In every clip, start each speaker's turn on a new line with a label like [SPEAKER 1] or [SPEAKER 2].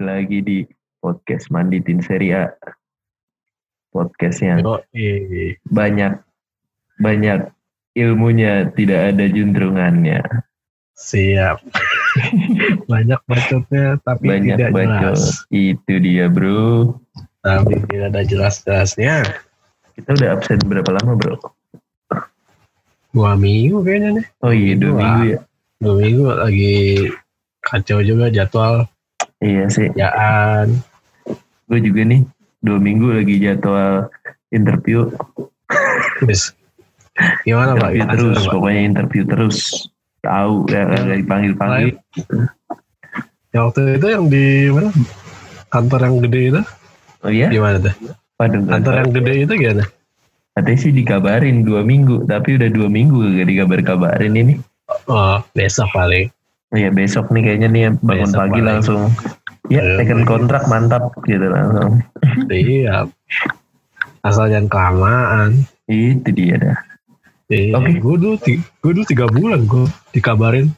[SPEAKER 1] lagi di podcast Mandi Tin Seri A. Podcast yang
[SPEAKER 2] Yoi.
[SPEAKER 1] banyak banyak ilmunya, tidak ada juntrungannya.
[SPEAKER 2] Siap. Banyak bacotnya tapi
[SPEAKER 1] Banyak
[SPEAKER 2] tidak
[SPEAKER 1] bacot.
[SPEAKER 2] jelas.
[SPEAKER 1] Itu dia, Bro.
[SPEAKER 2] Tapi tidak ada jelas-jelasnya.
[SPEAKER 1] Kita udah absen berapa lama, Bro?
[SPEAKER 2] Dua minggu kayaknya nih.
[SPEAKER 1] Oh iya, dua
[SPEAKER 2] Wah.
[SPEAKER 1] minggu ya.
[SPEAKER 2] Dua minggu lagi kacau juga jadwal
[SPEAKER 1] Iya sih.
[SPEAKER 2] kerjaan.
[SPEAKER 1] Gue juga nih dua minggu lagi jadwal interview.
[SPEAKER 2] Terus gimana Pak?
[SPEAKER 1] interview
[SPEAKER 2] Gimana,
[SPEAKER 1] terus,
[SPEAKER 2] Pak?
[SPEAKER 1] pokoknya interview terus. Tahu ya kagak dipanggil-panggil.
[SPEAKER 2] Yang Ya, waktu itu yang di mana? Kantor yang gede itu
[SPEAKER 1] Oh iya?
[SPEAKER 2] gimana tuh?
[SPEAKER 1] Waduh, nggak
[SPEAKER 2] Kantor
[SPEAKER 1] tahu.
[SPEAKER 2] yang gede itu gimana?
[SPEAKER 1] Katanya sih dikabarin dua minggu, tapi udah dua minggu gak dikabar-kabarin ini.
[SPEAKER 2] Oh, besok paling.
[SPEAKER 1] Iya besok nih kayaknya nih bangun
[SPEAKER 2] Besok
[SPEAKER 1] pagi
[SPEAKER 2] paling.
[SPEAKER 1] langsung. Ya
[SPEAKER 2] Ayo.
[SPEAKER 1] second kontrak mantap gitu langsung.
[SPEAKER 2] Iya. Asal jangan kelamaan.
[SPEAKER 1] Itu dia dah.
[SPEAKER 2] Iya,
[SPEAKER 1] Oke.
[SPEAKER 2] gue dulu, ti- gue dulu tiga bulan gue dikabarin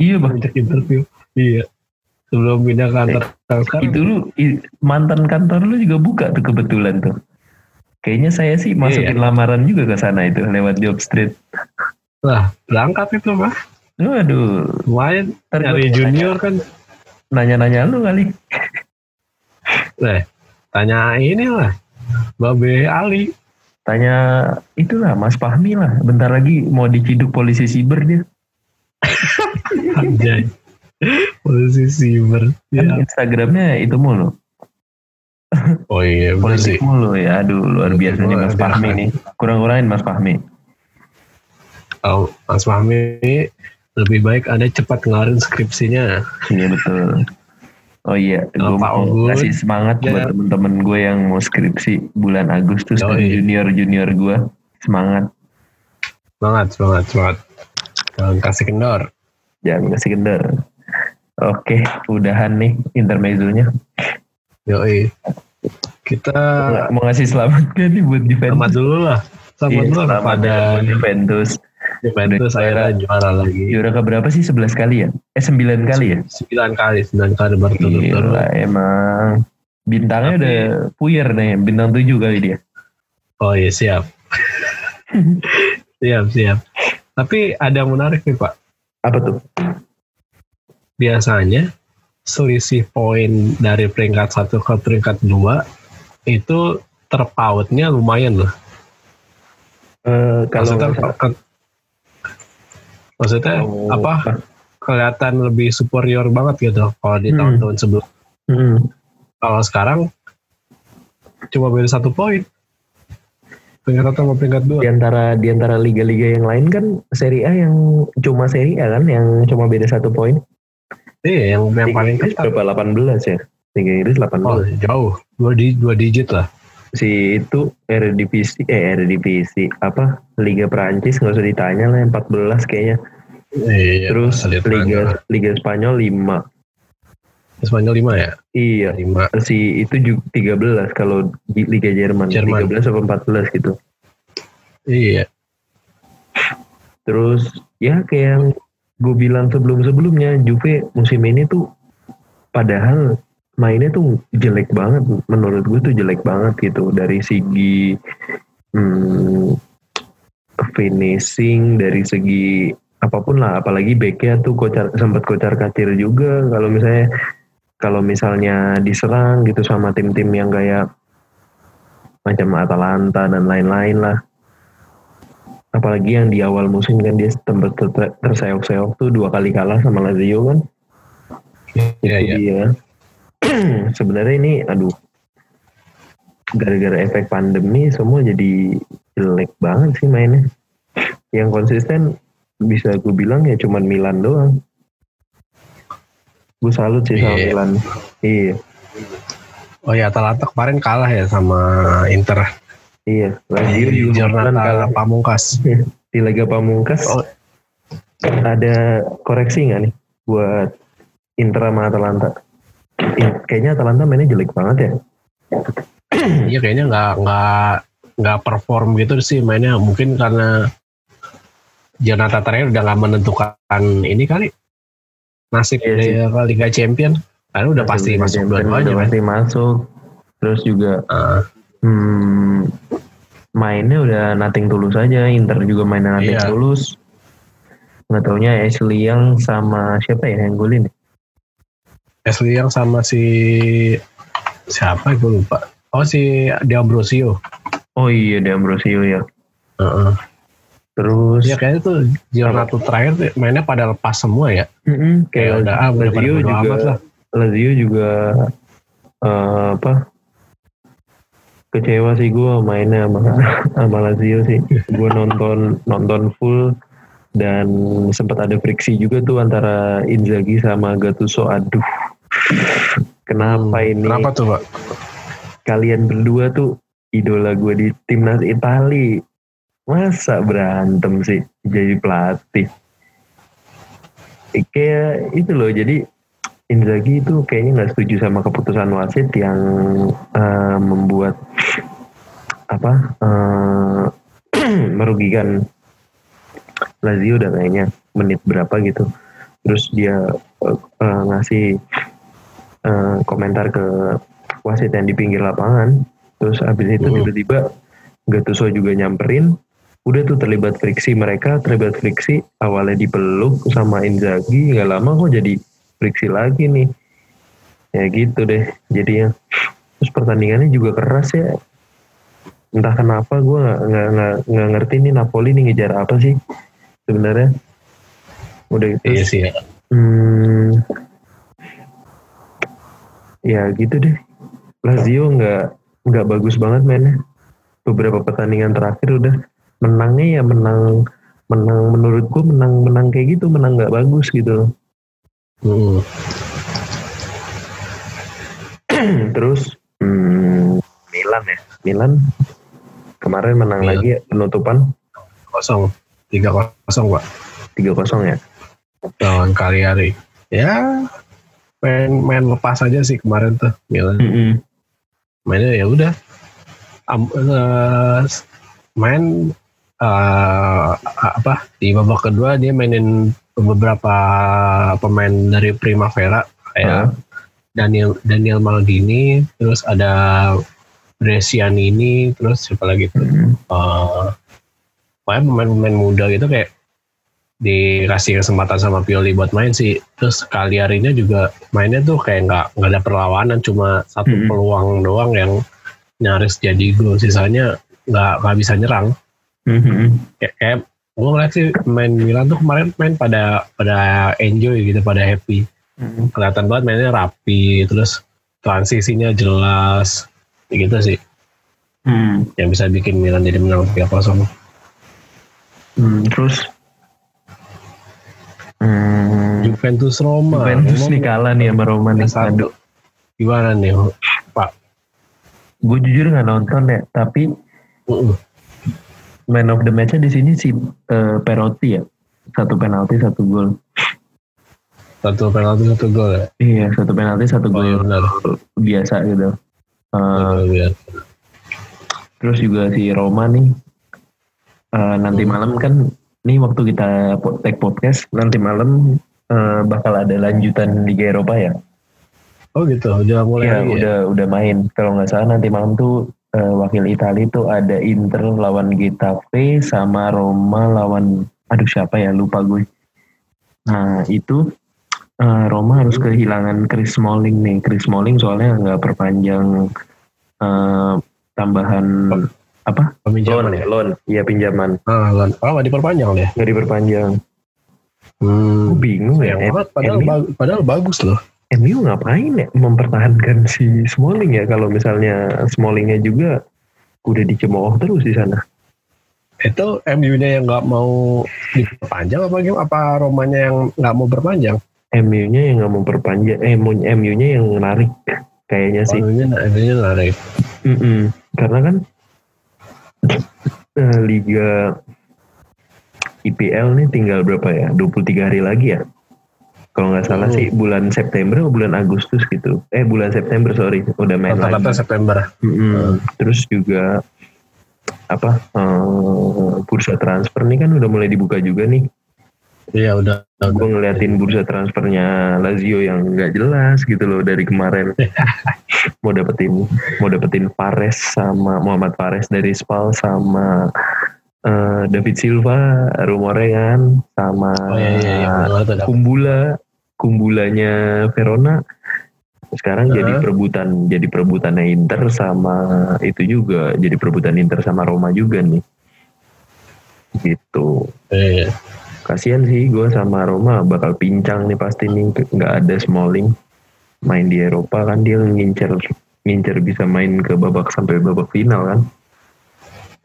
[SPEAKER 1] Iya bang.
[SPEAKER 2] banyak interview. Iya. Sebelum pindah ke kantor yang sekarang.
[SPEAKER 1] Itu lu i- mantan kantor lu juga buka tuh kebetulan tuh. Kayaknya saya
[SPEAKER 2] Iya,
[SPEAKER 1] sih masukin lamaran juga ke sana itu lewat job street.
[SPEAKER 2] Lah, berangkat itu mah.
[SPEAKER 1] Waduh,
[SPEAKER 2] Lumayan.
[SPEAKER 1] ntar gua
[SPEAKER 2] Nyari junior kan.
[SPEAKER 1] nanya-nanya lu kali.
[SPEAKER 2] Nah, tanya ini lah. Babe Ali.
[SPEAKER 1] Tanya itulah Mas Fahmi lah. Bentar lagi mau diciduk polisi siber dia.
[SPEAKER 2] Anjay. Polisi siber.
[SPEAKER 1] Kan
[SPEAKER 2] Iya.
[SPEAKER 1] Instagramnya itu mulu.
[SPEAKER 2] Oh iya, bener
[SPEAKER 1] Politik
[SPEAKER 2] sih.
[SPEAKER 1] mulu ya. Aduh luar biasa nih Mas
[SPEAKER 2] Politik
[SPEAKER 1] Fahmi
[SPEAKER 2] mulu.
[SPEAKER 1] nih. Kurang-kurangin Mas Fahmi.
[SPEAKER 2] Oh, Mas Fahmi lebih baik Anda cepat ngelarin skripsinya.
[SPEAKER 1] Iya betul. Oh iya, gue
[SPEAKER 2] Kalau Pak
[SPEAKER 1] mau
[SPEAKER 2] Ogun,
[SPEAKER 1] kasih semangat
[SPEAKER 2] ya.
[SPEAKER 1] buat temen-temen gue yang mau skripsi bulan Agustus dan
[SPEAKER 2] Yoi.
[SPEAKER 1] junior-junior gue. Semangat,
[SPEAKER 2] Semangat, semangat, semangat. Jangan kasih kendor.
[SPEAKER 1] jangan kasih kendor. Oke, udahan nih intermezzonya.
[SPEAKER 2] Yoi. Kita
[SPEAKER 1] Nggak Mau ngasih selamat gak nih buat
[SPEAKER 2] Selamat
[SPEAKER 1] Juventus?
[SPEAKER 2] dulu lah. Selamat
[SPEAKER 1] Iya,
[SPEAKER 2] dulu lah
[SPEAKER 1] selamat
[SPEAKER 2] kepada
[SPEAKER 1] ya buat Juventus.
[SPEAKER 2] Juventus akhirnya juara lagi.
[SPEAKER 1] Juara keberapa sih? 11 kali ya? Eh 9 kali ya?
[SPEAKER 2] 9 kali, 9 kali berturut-turut.
[SPEAKER 1] Gila, emang. Bintangnya
[SPEAKER 2] Tapi-
[SPEAKER 1] udah puyer nih, bintang 7 kali dia.
[SPEAKER 2] Oh iya, siap. siap, siap. Tapi ada yang menarik nih Pak.
[SPEAKER 1] Apa tuh?
[SPEAKER 2] Biasanya selisih poin dari peringkat 1 ke peringkat 2 itu terpautnya lumayan loh.
[SPEAKER 1] Eh, kalau
[SPEAKER 2] Maksudnya, ke- maksudnya
[SPEAKER 1] Oh.
[SPEAKER 2] apa kelihatan lebih superior banget gitu kalau di
[SPEAKER 1] Hmm.
[SPEAKER 2] tahun-tahun sebelum
[SPEAKER 1] Hmm.
[SPEAKER 2] kalau sekarang cuma beda satu poin peringkat satu sama peringkat dua
[SPEAKER 1] di antara di antara liga-liga yang lain kan Serie A yang cuma Serie A kan yang cuma beda satu poin.
[SPEAKER 2] iya yang yang
[SPEAKER 1] Liga
[SPEAKER 2] paling
[SPEAKER 1] Inggris
[SPEAKER 2] ketat
[SPEAKER 1] berapa 18 ya? Liga Inggris 18.
[SPEAKER 2] oh, jauh dua di dua digit lah
[SPEAKER 1] Si itu RDPC eh RDPC apa Liga Perancis nggak usah ditanya lah 14 kayaknya.
[SPEAKER 2] iya,
[SPEAKER 1] Terus ya?
[SPEAKER 2] lihat
[SPEAKER 1] Liga
[SPEAKER 2] Perancis.
[SPEAKER 1] Liga Spanyol 5.
[SPEAKER 2] Spanyol lima ya
[SPEAKER 1] Iya.
[SPEAKER 2] lima
[SPEAKER 1] Si itu juga 13 kalau di Liga Jerman,
[SPEAKER 2] Jerman.
[SPEAKER 1] 13 atau 14 gitu.
[SPEAKER 2] iya
[SPEAKER 1] Terus ya kayak yang gue bilang sebelum-sebelumnya Juve musim ini tuh padahal mainnya tuh jelek banget menurut gue tuh jelek banget gitu dari segi hmm, finishing dari segi apapun lah apalagi backnya tuh kocar sempat kocar kacir juga kalau misalnya kalau misalnya diserang gitu sama tim-tim yang kayak macam Atalanta dan lain-lain lah apalagi yang di awal musim kan dia tempat ter- terseok-seok tuh dua kali kalah sama Lazio kan
[SPEAKER 2] iya
[SPEAKER 1] Jadi
[SPEAKER 2] iya
[SPEAKER 1] ya sebenarnya ini aduh gara-gara efek pandemi semua jadi jelek banget sih mainnya yang konsisten bisa gue bilang ya cuman Milan doang gue salut sih sama
[SPEAKER 2] Iya.
[SPEAKER 1] Milan iya
[SPEAKER 2] oh iya Atalanta kemarin kalah ya sama Inter
[SPEAKER 1] iya Lazio
[SPEAKER 2] di
[SPEAKER 1] juga Milan
[SPEAKER 2] Jornata
[SPEAKER 1] kalah
[SPEAKER 2] Pamungkas
[SPEAKER 1] di Liga Pamungkas
[SPEAKER 2] Oh.
[SPEAKER 1] ada koreksi nggak nih buat Inter sama Atalanta? In- kayaknya Atalanta mainnya jelek banget ya.
[SPEAKER 2] iya kayaknya nggak nggak nggak perform gitu sih mainnya mungkin karena Jonathan terakhir udah nggak menentukan ini kali nasib
[SPEAKER 1] Iya sih.
[SPEAKER 2] dia ke Liga Champion Karena udah pasti masuk
[SPEAKER 1] udah
[SPEAKER 2] dua-duanya kan.
[SPEAKER 1] pasti masuk. Terus juga
[SPEAKER 2] Ah,
[SPEAKER 1] hmm, mainnya udah nothing tulus aja. Inter juga mainnya nothing
[SPEAKER 2] Iya.
[SPEAKER 1] tulus. Nggak taunya Ashley yang sama siapa ya yang golin?
[SPEAKER 2] Ashley yang sama si siapa gue lupa. Oh si De Ambrosio.
[SPEAKER 1] Oh iya, De Ambrosio ya.
[SPEAKER 2] Heeh.
[SPEAKER 1] Terus
[SPEAKER 2] Ya kayaknya tuh Giornato terakhir tuh mainnya pada lepas semua ya.
[SPEAKER 1] mm-mm,
[SPEAKER 2] Kayak udah ah udah pada
[SPEAKER 1] Lazio
[SPEAKER 2] bodo
[SPEAKER 1] juga
[SPEAKER 2] amat lah.
[SPEAKER 1] Lazio juga eh, apa kecewa sih gue mainnya sama sama Lazio sih gue nonton nonton full dan sempat ada friksi juga tuh antara Inzaghi sama Gattuso aduh kenapa ini
[SPEAKER 2] Hmm, Kenapa tuh Pak?
[SPEAKER 1] kalian berdua tuh idola gue di timnas Itali masa berantem sih jadi pelatih Eh, kayak itu loh jadi Inzaghi itu kayaknya nggak setuju sama keputusan wasit yang eh, membuat apa eh, merugikan Lazio udah kayaknya menit berapa gitu terus dia eh, eh, ngasih eh, komentar ke wasit yang di pinggir lapangan terus abis itu
[SPEAKER 2] Mhm.
[SPEAKER 1] tiba-tiba Gattuso juga nyamperin udah tuh terlibat friksi mereka terlibat friksi awalnya dipeluk sama Inzaghi nggak lama kok jadi friksi lagi nih ya gitu deh jadinya terus pertandingannya juga keras ya entah kenapa gue nggak nggak- nggak nggak ngerti nih Napoli nih ngejar apa sih sebenarnya udah gitu
[SPEAKER 2] Iya sih.
[SPEAKER 1] Hmm, ya gitu deh. Lazio nggak nggak bagus banget mainnya. Beberapa pertandingan terakhir udah menangnya ya menang menang menurutku menang menang kayak gitu menang nggak bagus gitu.
[SPEAKER 2] Heeh.
[SPEAKER 1] Terus hmm, Milan ya Milan kemarin menang
[SPEAKER 2] Milan.
[SPEAKER 1] lagi ya, penutupan
[SPEAKER 2] kosong tiga kosong pak
[SPEAKER 1] 3-0 ya.
[SPEAKER 2] lawan Kaliari ya main main lepas aja sih kemarin tuh Milan
[SPEAKER 1] Hmm,
[SPEAKER 2] mainnya ya udah Am- eh, main eh, apa di babak kedua dia mainin beberapa pemain dari Primavera kayak Daniel Daniel Maldini terus ada Brescianini terus siapa lagi tuh
[SPEAKER 1] Mm-mm.
[SPEAKER 2] eh pokoknya pemain-pemain muda gitu kayak dikasih kesempatan sama Pioli buat main sih terus Cagliari-nya juga mainnya tuh kayak nggak nggak ada perlawanan cuma satu
[SPEAKER 1] Mm-mm.
[SPEAKER 2] peluang doang yang nyaris jadi gol sisanya nggak nggak bisa nyerang
[SPEAKER 1] Mm-mm.
[SPEAKER 2] kayak, kayak gue ngeliat sih main Milan tuh kemarin main pada pada enjoy gitu pada happy
[SPEAKER 1] Mm-mm.
[SPEAKER 2] kelihatan banget mainnya rapi terus transisinya jelas gitu sih
[SPEAKER 1] Mm.
[SPEAKER 2] yang bisa bikin Milan jadi menang 3-0
[SPEAKER 1] Mm, Terus hmm,
[SPEAKER 2] Juventus Roma.
[SPEAKER 1] Juventus
[SPEAKER 2] Roma
[SPEAKER 1] nih kalah nih sama Roma nih.
[SPEAKER 2] satu. Gimana nih, Pak?
[SPEAKER 1] Gue jujur nggak nonton ya, tapi
[SPEAKER 2] Uh-uh.
[SPEAKER 1] man of the match-nya di sini si eh, Perotti ya. Satu penalti, satu gol.
[SPEAKER 2] Satu penalti satu gol ya.
[SPEAKER 1] Iya, satu penalti, satu
[SPEAKER 2] Oh
[SPEAKER 1] gol
[SPEAKER 2] iya benar.
[SPEAKER 1] biasa gitu. Eh,
[SPEAKER 2] Benar, benar.
[SPEAKER 1] terus juga si Roma nih eh, nanti
[SPEAKER 2] Hmm.
[SPEAKER 1] malam kan nih waktu kita po- take podcast nanti malam eh, bakal ada lanjutan Liga Eropa ya.
[SPEAKER 2] Oh gitu, udah mulai
[SPEAKER 1] Iya,
[SPEAKER 2] lagi ya?
[SPEAKER 1] udah udah main. Kalau nggak salah nanti malam tuh eh, wakil Italia tuh ada Inter lawan Getafe sama Roma lawan aduh siapa ya lupa gue. Nah itu eh, Roma harus kehilangan Chris Smalling nih. Chris Smalling soalnya nggak perpanjang eh, tambahan apa?
[SPEAKER 2] Peminjaman ya?
[SPEAKER 1] loan. Iya pinjaman
[SPEAKER 2] Ah, loan. Oh, nggak diperpanjang ya?
[SPEAKER 1] nggak diperpanjang. Gue
[SPEAKER 2] Hmm.
[SPEAKER 1] bingung ya.
[SPEAKER 2] Sayang banget, padahal,
[SPEAKER 1] MU
[SPEAKER 2] ba- padahal bagus loh.
[SPEAKER 1] MU ngapain ya mempertahankan si Smalling ya kalau misalnya Smallingnya juga udah dicemooh terus di sana.
[SPEAKER 2] Itu MU-nya yang nggak mau diperpanjang apa gimana? Apa Romanya yang nggak mau berpanjang?
[SPEAKER 1] MU-nya yang nggak memperpanjang, eh MU-nya yang menarik kayaknya Iya sih.
[SPEAKER 2] MU-nya MU-nya narik.
[SPEAKER 1] Mm-mm. Karena kan eh, Liga IPL nih tinggal berapa ya? 23 hari lagi ya? Kalau nggak salah
[SPEAKER 2] Hmm.
[SPEAKER 1] sih bulan September atau bulan Agustus gitu. Eh bulan September sorry udah main lagi.
[SPEAKER 2] Rata-rata September.
[SPEAKER 1] Mm-mm. Eh, Terus juga apa eh, bursa transfer nih kan udah mulai dibuka juga nih.
[SPEAKER 2] Iya udah.
[SPEAKER 1] gue ngeliatin bursa transfernya Lazio yang nggak jelas gitu loh dari kemarin mau dapetin mau dapetin Pares sama Muhammad Pares dari Spal sama eh, David Silva rumornya kan sama
[SPEAKER 2] Oh iya iya iya. bener banget udah.
[SPEAKER 1] Kumbula Kumbulanya Verona sekarang jadi
[SPEAKER 2] Heeh.
[SPEAKER 1] perebutan jadi perebutannya Inter sama itu juga jadi perebutan Inter sama Roma juga nih gitu
[SPEAKER 2] Iya, iya.
[SPEAKER 1] kasihan sih gue sama Roma bakal pincang nih pasti nih nggak ada Smalling main di Eropa kan dia ngincer ngincer bisa main ke babak sampai babak final kan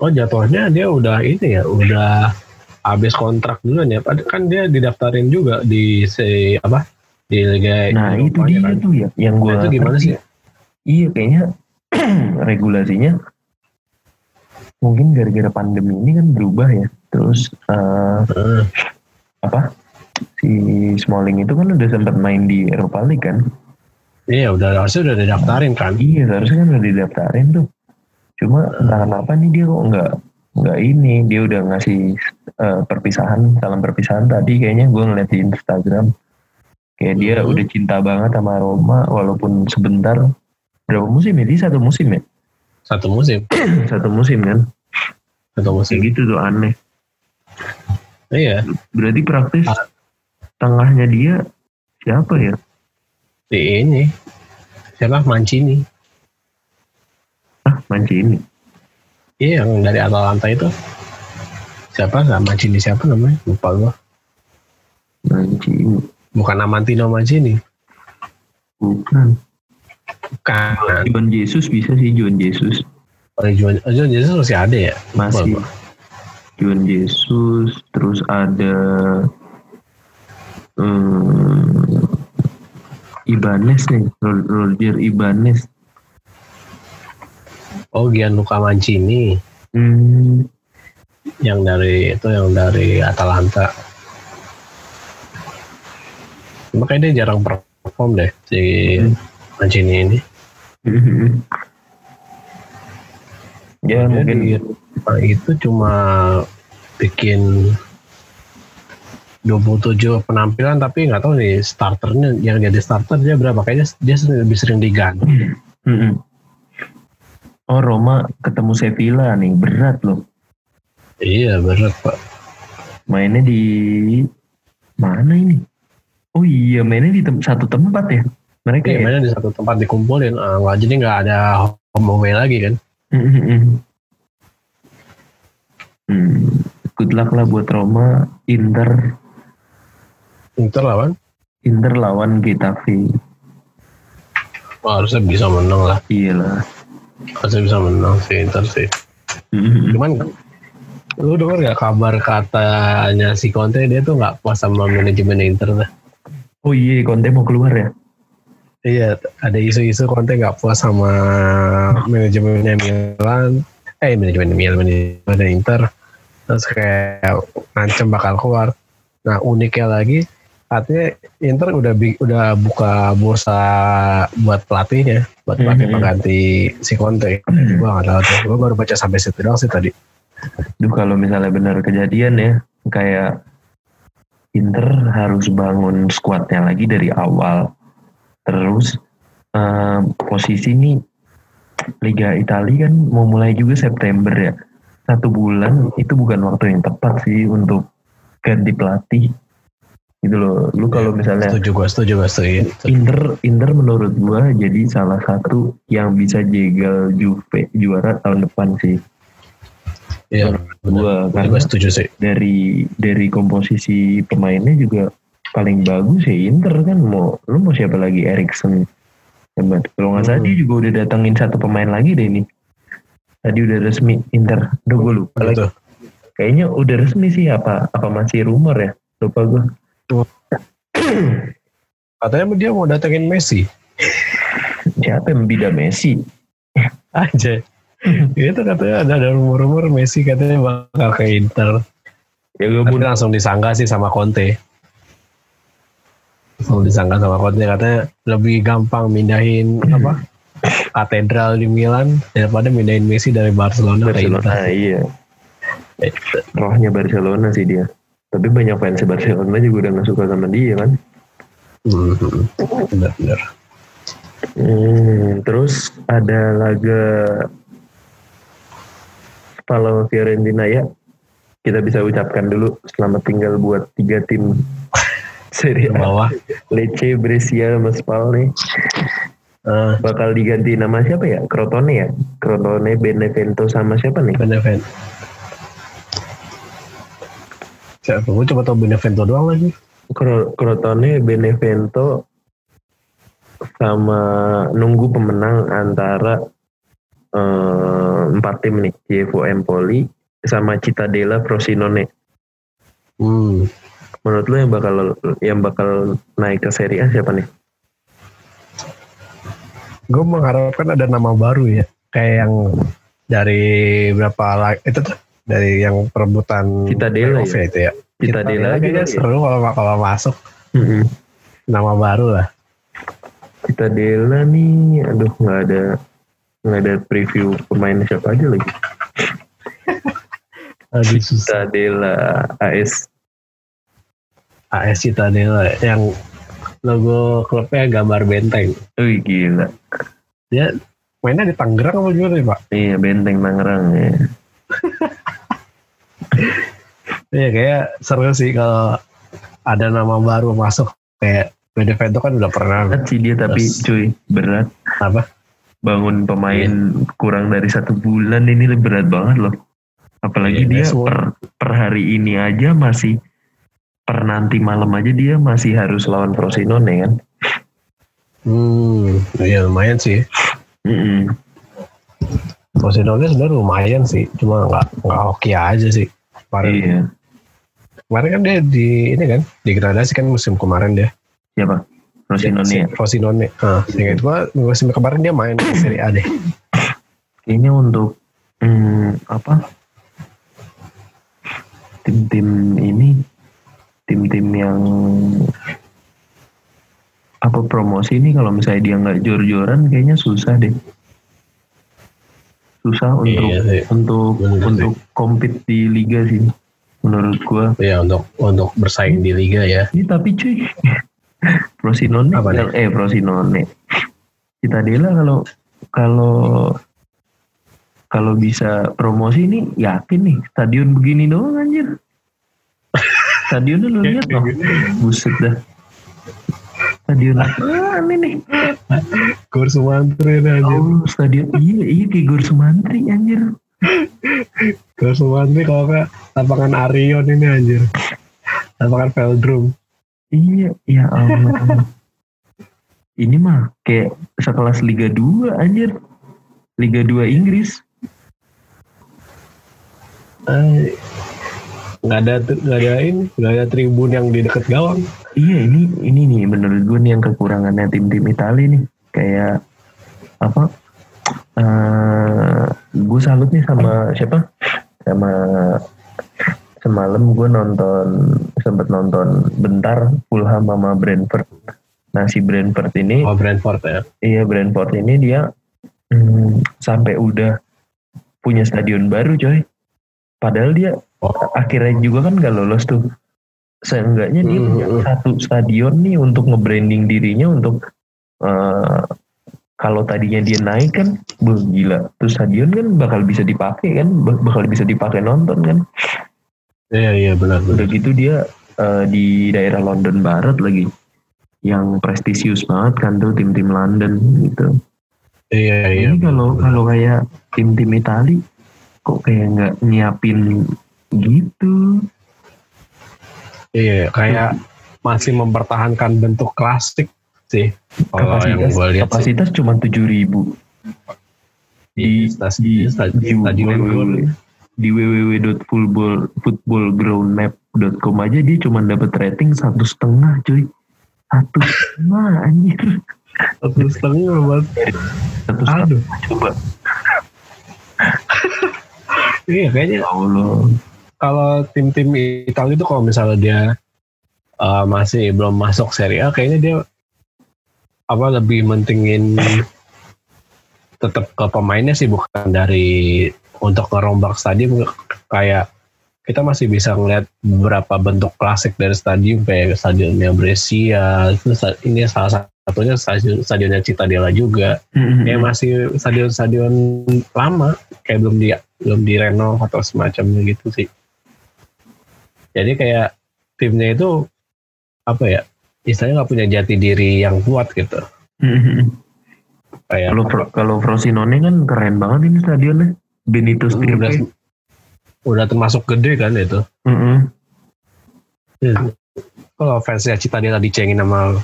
[SPEAKER 2] Oh jatuhnya dia udah ini ya, udah habis kontrak duluan ya. Padahal kan dia didaftarin juga di si apa? Di Liga
[SPEAKER 1] nah itu
[SPEAKER 2] Eropa
[SPEAKER 1] dia
[SPEAKER 2] ya kan.
[SPEAKER 1] tuh ya yang
[SPEAKER 2] Nah,
[SPEAKER 1] gue
[SPEAKER 2] itu gimana sih?
[SPEAKER 1] iya kayaknya regulasinya mungkin gara-gara pandemi ini kan berubah ya terus eh,
[SPEAKER 2] Heeh.
[SPEAKER 1] apa si Smalling itu kan udah sempat main di Eropa League kan
[SPEAKER 2] Iya, udah harusnya udah didaftarin kan.
[SPEAKER 1] Iya harusnya kan udah didaftarin tuh. Cuma entah kenapa nih dia kok nggak nggak ini dia udah ngasih eh, perpisahan salam perpisahan tadi kayaknya gue ngeliat di Instagram kayak dia
[SPEAKER 2] Mhm.
[SPEAKER 1] udah cinta banget sama Roma walaupun sebentar berapa musim ya dia satu musim ya
[SPEAKER 2] Satu musim,
[SPEAKER 1] satu musim kan
[SPEAKER 2] satu musim.
[SPEAKER 1] kayak gitu tuh aneh
[SPEAKER 2] Iya,
[SPEAKER 1] berarti praktis
[SPEAKER 2] Ah.
[SPEAKER 1] tengahnya dia siapa ya
[SPEAKER 2] di ini. Siapa Mancini?
[SPEAKER 1] ah Mancini
[SPEAKER 2] Iya, yang dari Atalanta itu. Siapa? Nah, Mancini siapa namanya? Lupa gua.
[SPEAKER 1] Mancini
[SPEAKER 2] Bukan Amantino Mancini.
[SPEAKER 1] bukan
[SPEAKER 2] Bukan.
[SPEAKER 1] Juan Jesus bisa sih Juan Jesus
[SPEAKER 2] Oleh Juan, oh, Juan Jesus masih ada ya? Lupa
[SPEAKER 1] masih
[SPEAKER 2] gua.
[SPEAKER 1] Juan Yesus terus ada eh, Ibanez nih Ro- Roger Ibanez
[SPEAKER 2] Oh, Gianluca Mancini.
[SPEAKER 1] hmm,
[SPEAKER 2] yang dari itu yang dari Atalanta. Makanya dia jarang perform deh si
[SPEAKER 1] Hmm.
[SPEAKER 2] Mancini ini.
[SPEAKER 1] ya
[SPEAKER 2] Dia
[SPEAKER 1] mungkin
[SPEAKER 2] di Roma itu cuma bikin 27 penampilan tapi nggak tahu nih starternya yang jadi starter dia berapa kayaknya dia sering- lebih sering diganti.
[SPEAKER 1] Mm-mm. oh Roma ketemu Sevilla nih berat loh
[SPEAKER 2] Iya berat pak.
[SPEAKER 1] mainnya di mana ini oh iya mainnya di tem- satu tempat ya mereka
[SPEAKER 2] Iya,
[SPEAKER 1] ya?
[SPEAKER 2] mainnya di satu tempat dikumpulin, ah, nggak jadi nggak ada home away lagi kan?
[SPEAKER 1] Hmm. Good luck lah buat Roma. Inter,
[SPEAKER 2] Inter lawan,
[SPEAKER 1] Inter lawan Getafe.
[SPEAKER 2] wah, harusnya bisa menang lah.
[SPEAKER 1] Iyalah.
[SPEAKER 2] Harusnya bisa menang sih Inter sih.
[SPEAKER 1] Mm-mm.
[SPEAKER 2] Cuman lu denger gak kabar katanya si Conte dia tuh nggak puas sama manajemen Inter dah.
[SPEAKER 1] Oh iya, Conte mau keluar ya?
[SPEAKER 2] Iya, ada isu-isu Conte nggak puas sama manajemennya Milan. Eh, manajemen Milan, manajemen Inter. Terus kayak ngancem bakal keluar. Nah, uniknya lagi artinya Inter udah bi- udah buka bursa buat pelatihnya, buat pelatih
[SPEAKER 1] Mhm.
[SPEAKER 2] pengganti si Conte. Gua nggak tahu tuh. Gua baru baca sampai situ doang sih tadi.
[SPEAKER 1] Duh kalau misalnya benar kejadian ya, kayak Inter harus bangun skuadnya lagi dari awal. Terus eh, posisi nih Liga Italia kan mau mulai juga September ya. Satu bulan itu bukan waktu yang tepat sih untuk ganti pelatih. Gitu loh. Lu kalau misalnya
[SPEAKER 2] Iya, setuju gua, setuju gua, setuju.
[SPEAKER 1] Inter Inter menurut gua jadi salah satu yang bisa jegal Juve juara tahun depan sih.
[SPEAKER 2] Iya, benar.
[SPEAKER 1] Gua
[SPEAKER 2] Gue
[SPEAKER 1] karena
[SPEAKER 2] juga setuju sih.
[SPEAKER 1] dari dari komposisi pemainnya juga paling bagus ya Inter kan mau lu mau siapa lagi Erikson hebat kalau nggak salah
[SPEAKER 2] Hmm.
[SPEAKER 1] dia juga udah datangin satu pemain lagi deh ini tadi udah resmi Inter udah gue lupa lagi.
[SPEAKER 2] Gitu.
[SPEAKER 1] kayaknya udah resmi sih apa apa masih rumor ya lupa gue
[SPEAKER 2] Katanya dia mau datengin Messi.
[SPEAKER 1] siapa yang bida Messi
[SPEAKER 2] Aja. Itu katanya ada, ada rumor-rumor Messi katanya bakal ke Inter.
[SPEAKER 1] ya gue
[SPEAKER 2] Tapi langsung disangka sih sama Conte. Langsung disangka sama Conte katanya lebih gampang mindahin apa? Katedral di Milan daripada mindahin Messi dari Barcelona,
[SPEAKER 1] Barcelona
[SPEAKER 2] ke Inter.
[SPEAKER 1] iya
[SPEAKER 2] Eh,
[SPEAKER 1] rohnya Barcelona sih dia Tapi banyak fans Barcelona juga udah nggak suka sama dia kan.
[SPEAKER 2] Mhm. Benar-benar.
[SPEAKER 1] Hmm, terus ada laga kalau Fiorentina ya kita bisa ucapkan dulu selamat tinggal buat tiga tim Serie A.
[SPEAKER 2] Di bawah.
[SPEAKER 1] Lecce, Brescia, sama Spal nih
[SPEAKER 2] eh,
[SPEAKER 1] bakal diganti nama siapa ya? Crotone ya? Crotone, Benevento sama siapa nih?
[SPEAKER 2] Benevento. Siapa? Gue cuma tau Benevento doang lagi.
[SPEAKER 1] Cro- Crotone, Benevento sama nunggu pemenang antara eh, empat tim nih, Chievo Empoli sama Cittadella Frosinone.
[SPEAKER 2] Hmm.
[SPEAKER 1] Menurut lo yang bakal yang bakal naik ke Serie A siapa nih?
[SPEAKER 2] Gue mengharapkan ada nama baru ya. Kayak yang dari berapa la- itu tuh dari yang perebutan
[SPEAKER 1] Cittadella
[SPEAKER 2] playoff
[SPEAKER 1] ya?
[SPEAKER 2] itu ya.
[SPEAKER 1] Cittadella
[SPEAKER 2] Cittadella kayaknya
[SPEAKER 1] juga ya?
[SPEAKER 2] seru kalau kalau masuk
[SPEAKER 1] Mm-mm.
[SPEAKER 2] nama baru lah.
[SPEAKER 1] Cittadella nih, aduh nggak ada nggak ada preview pemain siapa aja lagi.
[SPEAKER 2] Aduh susah.
[SPEAKER 1] Cittadella AS
[SPEAKER 2] AS Cittadella yang logo klubnya gambar benteng.
[SPEAKER 1] Wih gila.
[SPEAKER 2] Dia mainnya di Tangerang apa gimana ya Pak?
[SPEAKER 1] Iya benteng Tangerang ya.
[SPEAKER 2] Iya kayak seru sih kalau ada nama baru masuk kayak Benevento kan udah pernah
[SPEAKER 1] Berat sih dia tapi
[SPEAKER 2] Terus.
[SPEAKER 1] cuy berat
[SPEAKER 2] apa? Iya.
[SPEAKER 1] bangun pemain kurang dari satu bulan ini berat banget loh. Apalagi
[SPEAKER 2] Iya,
[SPEAKER 1] dia
[SPEAKER 2] that's
[SPEAKER 1] per, per hari ini aja masih per nanti malam aja dia masih harus lawan Frosinone kan.
[SPEAKER 2] Hmm, ya lumayan sih.
[SPEAKER 1] Mm-mm.
[SPEAKER 2] Frosinone sebenarnya lumayan sih, cuma nggak nggak hoki aja sih. Kemarin,
[SPEAKER 1] Iya.
[SPEAKER 2] kemarin kan dia di ini kan degradasi kan musim kemarin dia.
[SPEAKER 1] Siapa? Frosinone ya.
[SPEAKER 2] Frosinone. Ah, seingat gua musim kemarin dia main di Serie A deh.
[SPEAKER 1] Kayaknya untuk hmm, apa? Tim-tim ini tim-tim yang apa promosi ini kalau misalnya dia nggak jor-joran kayaknya susah deh. Susah untuk
[SPEAKER 2] Iya sih.
[SPEAKER 1] untuk
[SPEAKER 2] Bener sih.
[SPEAKER 1] untuk compete di liga sih menurut gua.
[SPEAKER 2] Ya untuk untuk bersaing di liga ya.
[SPEAKER 1] Ini tapi cuy Frosinone
[SPEAKER 2] Apa
[SPEAKER 1] yang- eh Frosinone Citadela kalau kalau kalau bisa promosi nih yakin nih stadion begini doang anjir stadionnya lu lihat loh buset dah stadion apaan ini
[SPEAKER 2] Gue harus mantri aja.
[SPEAKER 1] oh stadion iya iya kayak Gor Sumantri anjir
[SPEAKER 2] Gue harus mantri kalau nggak lapangan Arion ini anjir. Lapangan Veldrum.
[SPEAKER 1] iya ya Allah ini mah kayak sekelas Liga 2 anjir Liga 2 Inggris
[SPEAKER 2] Ay. nggak ada nggak ada ini nggak ada tribun yang di dekat gawang
[SPEAKER 1] Iya ini ini nih menurut gue nih yang kekurangannya tim-tim Itali nih kayak apa? eh gue salut nih sama siapa? Sama semalam gue nonton sempet nonton bentar Fulham sama Brentford. Nah si Brentford ini
[SPEAKER 2] oh Brentford ya
[SPEAKER 1] Iya Brentford ini dia hmm, sampai udah punya stadion baru coy. Padahal dia
[SPEAKER 2] Oh.
[SPEAKER 1] akhirnya juga kan gak lolos tuh. Seenggaknya dia punya
[SPEAKER 2] Mhm.
[SPEAKER 1] satu stadion nih untuk nge-branding dirinya untuk eh, kalau tadinya dia naik kan, beuh, gila. Terus stadion kan bakal bisa dipakai kan, bak- bakal bisa dipakai nonton kan.
[SPEAKER 2] iya iya benar
[SPEAKER 1] Udah
[SPEAKER 2] benar
[SPEAKER 1] gitu dia eh, di daerah London Barat lagi, yang prestisius banget kan tuh tim-tim London gitu.
[SPEAKER 2] iya iya
[SPEAKER 1] Ini kalau kalau kayak tim-tim Itali kok kayak nggak nyiapin gitu.
[SPEAKER 2] iya kayak masih mempertahankan bentuk klasik sih kalau Oh,
[SPEAKER 1] kapasitas
[SPEAKER 2] yang gue lihat sih
[SPEAKER 1] kapasitas cuma 7000 ribu di
[SPEAKER 2] di stasiun
[SPEAKER 1] di
[SPEAKER 2] stadion
[SPEAKER 1] www di www.footballgroundmap.com aja dia cuma dapat rating satu setengah cuy satu setengah anjir
[SPEAKER 2] satu setengah buat
[SPEAKER 1] satu setengah
[SPEAKER 2] aduh
[SPEAKER 1] coba
[SPEAKER 2] iya kayaknya
[SPEAKER 1] ya Allah
[SPEAKER 2] kalau tim-tim Italia itu kalau misalnya dia uh, masih belum masuk Serie A kayaknya dia apa lebih mentingin tetap ke pemainnya sih bukan dari untuk ngerombak stadium kayak kita masih bisa ngeliat beberapa bentuk klasik dari stadium kayak stadionnya Brescia itu sta- ini salah satunya stadion stadionnya Citadella juga
[SPEAKER 1] Mm-mm.
[SPEAKER 2] ya masih stadion-stadion lama kayak belum di belum direnov atau semacamnya gitu sih jadi kayak timnya itu apa ya istilahnya nggak punya jati diri yang kuat gitu
[SPEAKER 1] Mm-mm.
[SPEAKER 2] kayak
[SPEAKER 1] Kalau Fro- kalau Frosinone kan keren banget ini stadionnya. Benito
[SPEAKER 2] udah,
[SPEAKER 1] Stirpe.
[SPEAKER 2] udah termasuk gede kan itu
[SPEAKER 1] Mm-mm.
[SPEAKER 2] kalau fansnya Citadella dicengin sama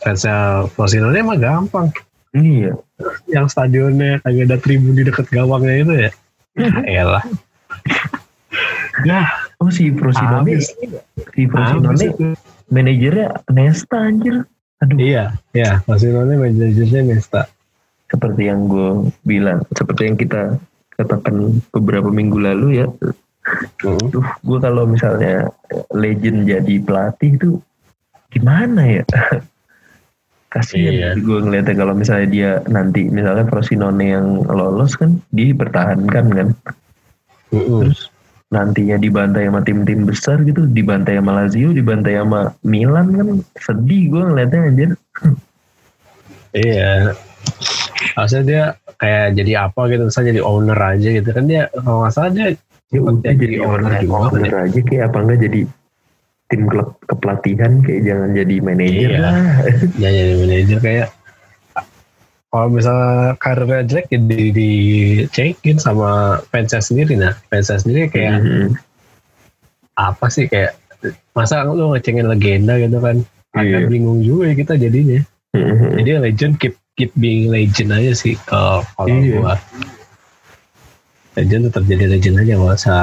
[SPEAKER 2] fansnya Frosinone mah gampang
[SPEAKER 1] Iya.
[SPEAKER 2] yang stadionnya kagak ada tribun di dekat gawangnya itu ya elah ya
[SPEAKER 1] Oh si Frosinone,
[SPEAKER 2] habis
[SPEAKER 1] si
[SPEAKER 2] habis
[SPEAKER 1] Frosinone
[SPEAKER 2] itu.
[SPEAKER 1] manajernya Nesta anjir. Aduh,
[SPEAKER 2] Iya, iya. Barcelona manajernya Nesta.
[SPEAKER 1] seperti yang gue bilang, seperti yang kita katakan beberapa minggu lalu ya. Duh, gue kalau misalnya legend jadi pelatih itu gimana ya? Kasian
[SPEAKER 2] Iya.
[SPEAKER 1] gue ngeliatnya kalau misalnya dia nanti misalnya Frosinone yang lolos kan dia dipertahankan kan.
[SPEAKER 2] Mm-mm.
[SPEAKER 1] Terus nantinya dibantai sama tim-tim besar gitu, dibantai sama Lazio, dibantai sama Milan kan sedih gue ngeliatnya anjir.
[SPEAKER 2] Iya. Harusnya dia kayak jadi apa gitu, misalnya jadi owner aja gitu kan dia kalau nggak salah dia
[SPEAKER 1] Ya
[SPEAKER 2] sempet
[SPEAKER 1] udah jadi owner,
[SPEAKER 2] juga kan
[SPEAKER 1] owner
[SPEAKER 2] ya.
[SPEAKER 1] aja kayak apa enggak jadi tim klub kepelatihan kayak jangan jadi manajer
[SPEAKER 2] Iya.
[SPEAKER 1] lah.
[SPEAKER 2] Dia jadi manajer kayak kalau misalnya karirnya jelek ya di, di cekin sama fansnya sendiri nah fansnya sendiri kayak
[SPEAKER 1] Mhm.
[SPEAKER 2] apa sih kayak masa lu ngecengin legenda gitu kan
[SPEAKER 1] Iya.
[SPEAKER 2] agak bingung juga ya kita jadinya
[SPEAKER 1] Mhm.
[SPEAKER 2] Jadi legend keep keep being legend aja sih kalau kalau
[SPEAKER 1] Iya.
[SPEAKER 2] gua. Legend tetap jadi legend aja nggak usah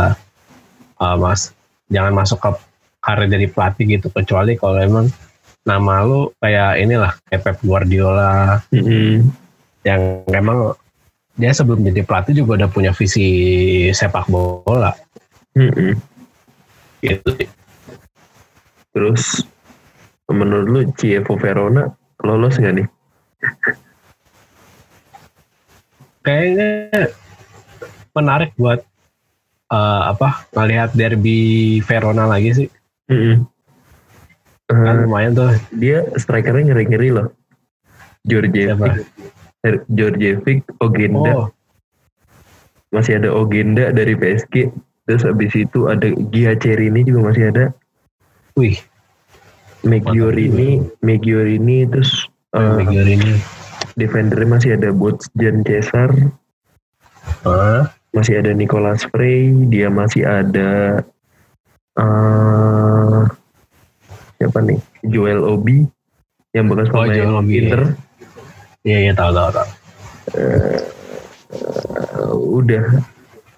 [SPEAKER 2] uh, mas jangan masuk ke karir jadi pelatih gitu kecuali kalau emang nama lu kayak inilah kayak Pep Guardiola
[SPEAKER 1] Mhm.
[SPEAKER 2] yang emang dia sebelum jadi pelatih juga udah punya visi sepak bola
[SPEAKER 1] Mhm.
[SPEAKER 2] gitu.
[SPEAKER 1] Terus menurut lu Cievo Verona lolos nggak nih?
[SPEAKER 2] Kayaknya menarik buat uh, apa melihat derby Verona lagi sih
[SPEAKER 1] Mhm. Eh,
[SPEAKER 2] kan lumayan tuh
[SPEAKER 1] dia strikernya ngeri-ngeri loh.
[SPEAKER 2] Siapa?
[SPEAKER 1] Georgievic, Er- Georgievic, Ogenda,
[SPEAKER 2] Oh,
[SPEAKER 1] masih ada Ogenda dari PSG. Terus abis itu ada Gia Cerini juga masih ada.
[SPEAKER 2] wih,
[SPEAKER 1] Megiorini, Megiorini terus
[SPEAKER 2] uh,
[SPEAKER 1] eh,
[SPEAKER 2] ini.
[SPEAKER 1] defender masih ada Bojan Cesar,
[SPEAKER 2] Hah?
[SPEAKER 1] masih ada Nicolas Frey, dia masih ada eh siapa nih? Joel Obi yang bekas
[SPEAKER 2] Oh,
[SPEAKER 1] pemain
[SPEAKER 2] Joel Obi, ya.
[SPEAKER 1] Inter.
[SPEAKER 2] Iya, iya tahu tahu tahu.
[SPEAKER 1] Eh, udah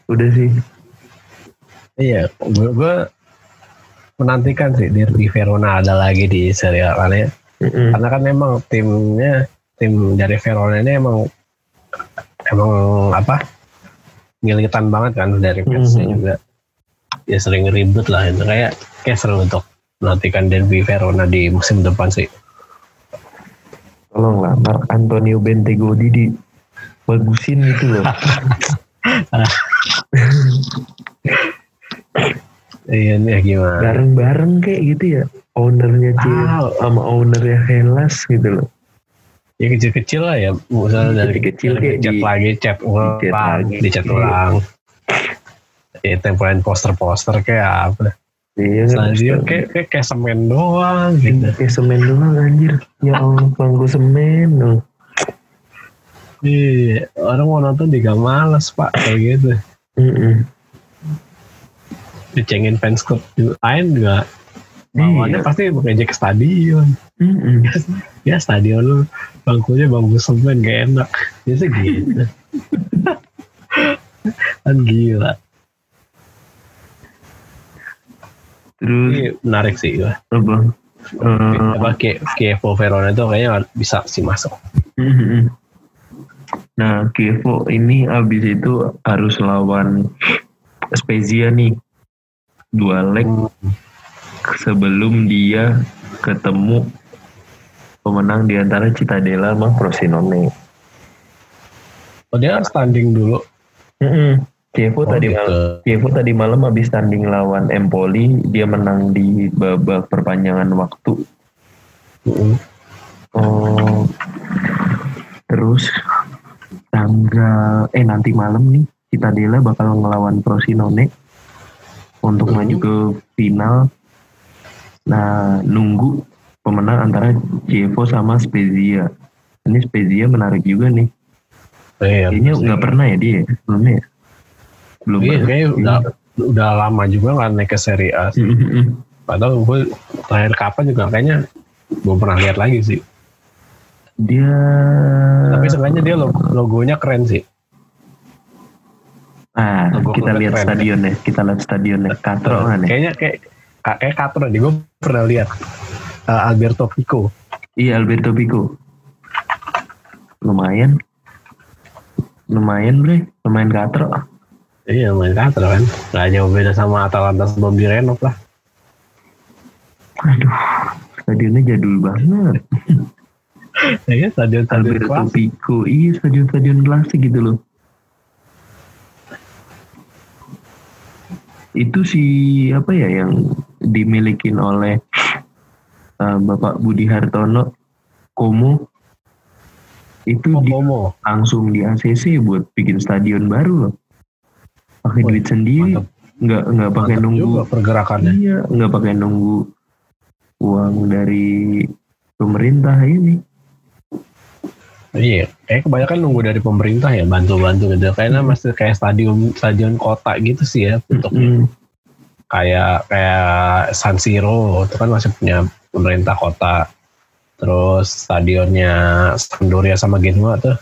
[SPEAKER 1] udah sih.
[SPEAKER 2] Iya, gue gue menantikan sih derby Verona ada lagi di Serie A karena,
[SPEAKER 1] Mm-mm.
[SPEAKER 2] karena kan emang timnya tim dari Verona ini emang emang apa militan banget kan dari fansnya
[SPEAKER 1] Mhm.
[SPEAKER 2] juga ya sering ribut lah itu kayak kayak seru untuk menantikan derby Verona di musim depan sih
[SPEAKER 1] Tolong lamar Antonio Bentegodi di bagusin gitu loh.
[SPEAKER 2] iya nih gimana
[SPEAKER 1] Bareng-bareng kayak gitu ya. Ownernya C
[SPEAKER 2] Ah.
[SPEAKER 1] sama ownernya Hellas gitu loh.
[SPEAKER 2] ya kecil-kecil lah ya misalnya dari
[SPEAKER 1] Kecil-kecil
[SPEAKER 2] dari
[SPEAKER 1] kayak
[SPEAKER 2] cat
[SPEAKER 1] di-
[SPEAKER 2] lagi cat ulang
[SPEAKER 1] dicat lagi.
[SPEAKER 2] dicat
[SPEAKER 1] Iya.
[SPEAKER 2] ulang ya tempelin poster-poster kayak apa
[SPEAKER 1] Iya kan?
[SPEAKER 2] stadion kayak, kayak kayak semen doang gitu
[SPEAKER 1] Kayak semen doang anjir. Ya Allah, bangku semen. loh.
[SPEAKER 2] Iya, orang mau nonton juga males pak kayak gitu
[SPEAKER 1] Mm-mm.
[SPEAKER 2] dicengin fans klub juga- lain juga
[SPEAKER 1] Iya.
[SPEAKER 2] lawannya pasti mengejek ke stadion
[SPEAKER 1] Mm-mm.
[SPEAKER 2] ya stadion lu bangkunya bangku semen gak enak biasa gitu kan gila
[SPEAKER 1] Terus
[SPEAKER 2] Ini menarik sih gua.
[SPEAKER 1] apa? Eh,
[SPEAKER 2] Gitu. apa Ki- Kievo Verona itu kayaknya bisa sih masuk.
[SPEAKER 1] mm-mm. Nah, Kievo ini abis itu harus lawan Spezia nih. Dua leg sebelum dia ketemu pemenang di antara Citadella sama Frosinone.
[SPEAKER 2] Oh dia kan standing dulu.
[SPEAKER 1] Mm-mm. Chievo
[SPEAKER 2] Oh,
[SPEAKER 1] tadi
[SPEAKER 2] gitu.
[SPEAKER 1] malam, Chievo tadi malam habis tanding lawan Empoli, dia menang di babak perpanjangan waktu.
[SPEAKER 2] Mm-mm.
[SPEAKER 1] Oh. Terus tanggal eh nanti malam nih Citadela bakal ngelawan Frosinone untuk
[SPEAKER 2] Hmm.
[SPEAKER 1] maju ke final. Nah, nunggu pemenang antara Chievo sama Spezia. Ini Spezia menarik juga nih.
[SPEAKER 2] Eh, ya,
[SPEAKER 1] Kayaknya nggak pernah ya dia ya, sebelumnya ya? Belum
[SPEAKER 2] Iya,
[SPEAKER 1] pernah.
[SPEAKER 2] kayaknya udah,
[SPEAKER 1] Hmm.
[SPEAKER 2] udah lama juga nggak naik ke Serie A.
[SPEAKER 1] Mm, mm, mm.
[SPEAKER 2] Padahal gue terakhir kapan juga kayaknya belum pernah lihat lagi sih.
[SPEAKER 1] Dia
[SPEAKER 2] Tapi seenggaknya dia lo- logonya keren sih.
[SPEAKER 1] Ah,
[SPEAKER 2] Logo
[SPEAKER 1] kita
[SPEAKER 2] klubnya
[SPEAKER 1] lihat
[SPEAKER 2] Oh, keren.
[SPEAKER 1] stadionnya, kita lihat stadionnya. Katro kan ya?
[SPEAKER 2] Nah, Kayaknya kayak kayak katro nih gue pernah lihat Eh, Alberto Pico.
[SPEAKER 1] Iya Alberto Pico. Lumayan. Lumayan bre, lumayan katro.
[SPEAKER 2] Iya main katro kan. Gak jauh beda sama Atalanta sebelum direnov lah.
[SPEAKER 1] Aduh, stadionnya jadul banget.
[SPEAKER 2] Iya stadion stadion
[SPEAKER 1] Alberto
[SPEAKER 2] kelas.
[SPEAKER 1] Pico, iya stadion-stadion klasik gitu loh. Itu si apa ya yang dimilikin oleh eh, Bapak Budi Hartono Komo itu di
[SPEAKER 2] Pomo.
[SPEAKER 1] langsung di ACC buat bikin stadion baru loh. Pakai
[SPEAKER 2] Wah,
[SPEAKER 1] duit sendiri,
[SPEAKER 2] mantap.
[SPEAKER 1] nggak nggak pakai
[SPEAKER 2] Mantap
[SPEAKER 1] nunggu,
[SPEAKER 2] juga pergerakannya.
[SPEAKER 1] iya nggak pakai nunggu uang dari pemerintah ini.
[SPEAKER 2] Iya, kayak kebanyakan nunggu dari pemerintah ya bantu-bantu gitu. Kayaknya masih kayak stadion stadion kota gitu sih ya
[SPEAKER 1] Mm.
[SPEAKER 2] bentuknya. Kayak kayak San Siro itu kan masih punya pemerintah kota. Terus stadionnya Sampdoria sama Genoa tuh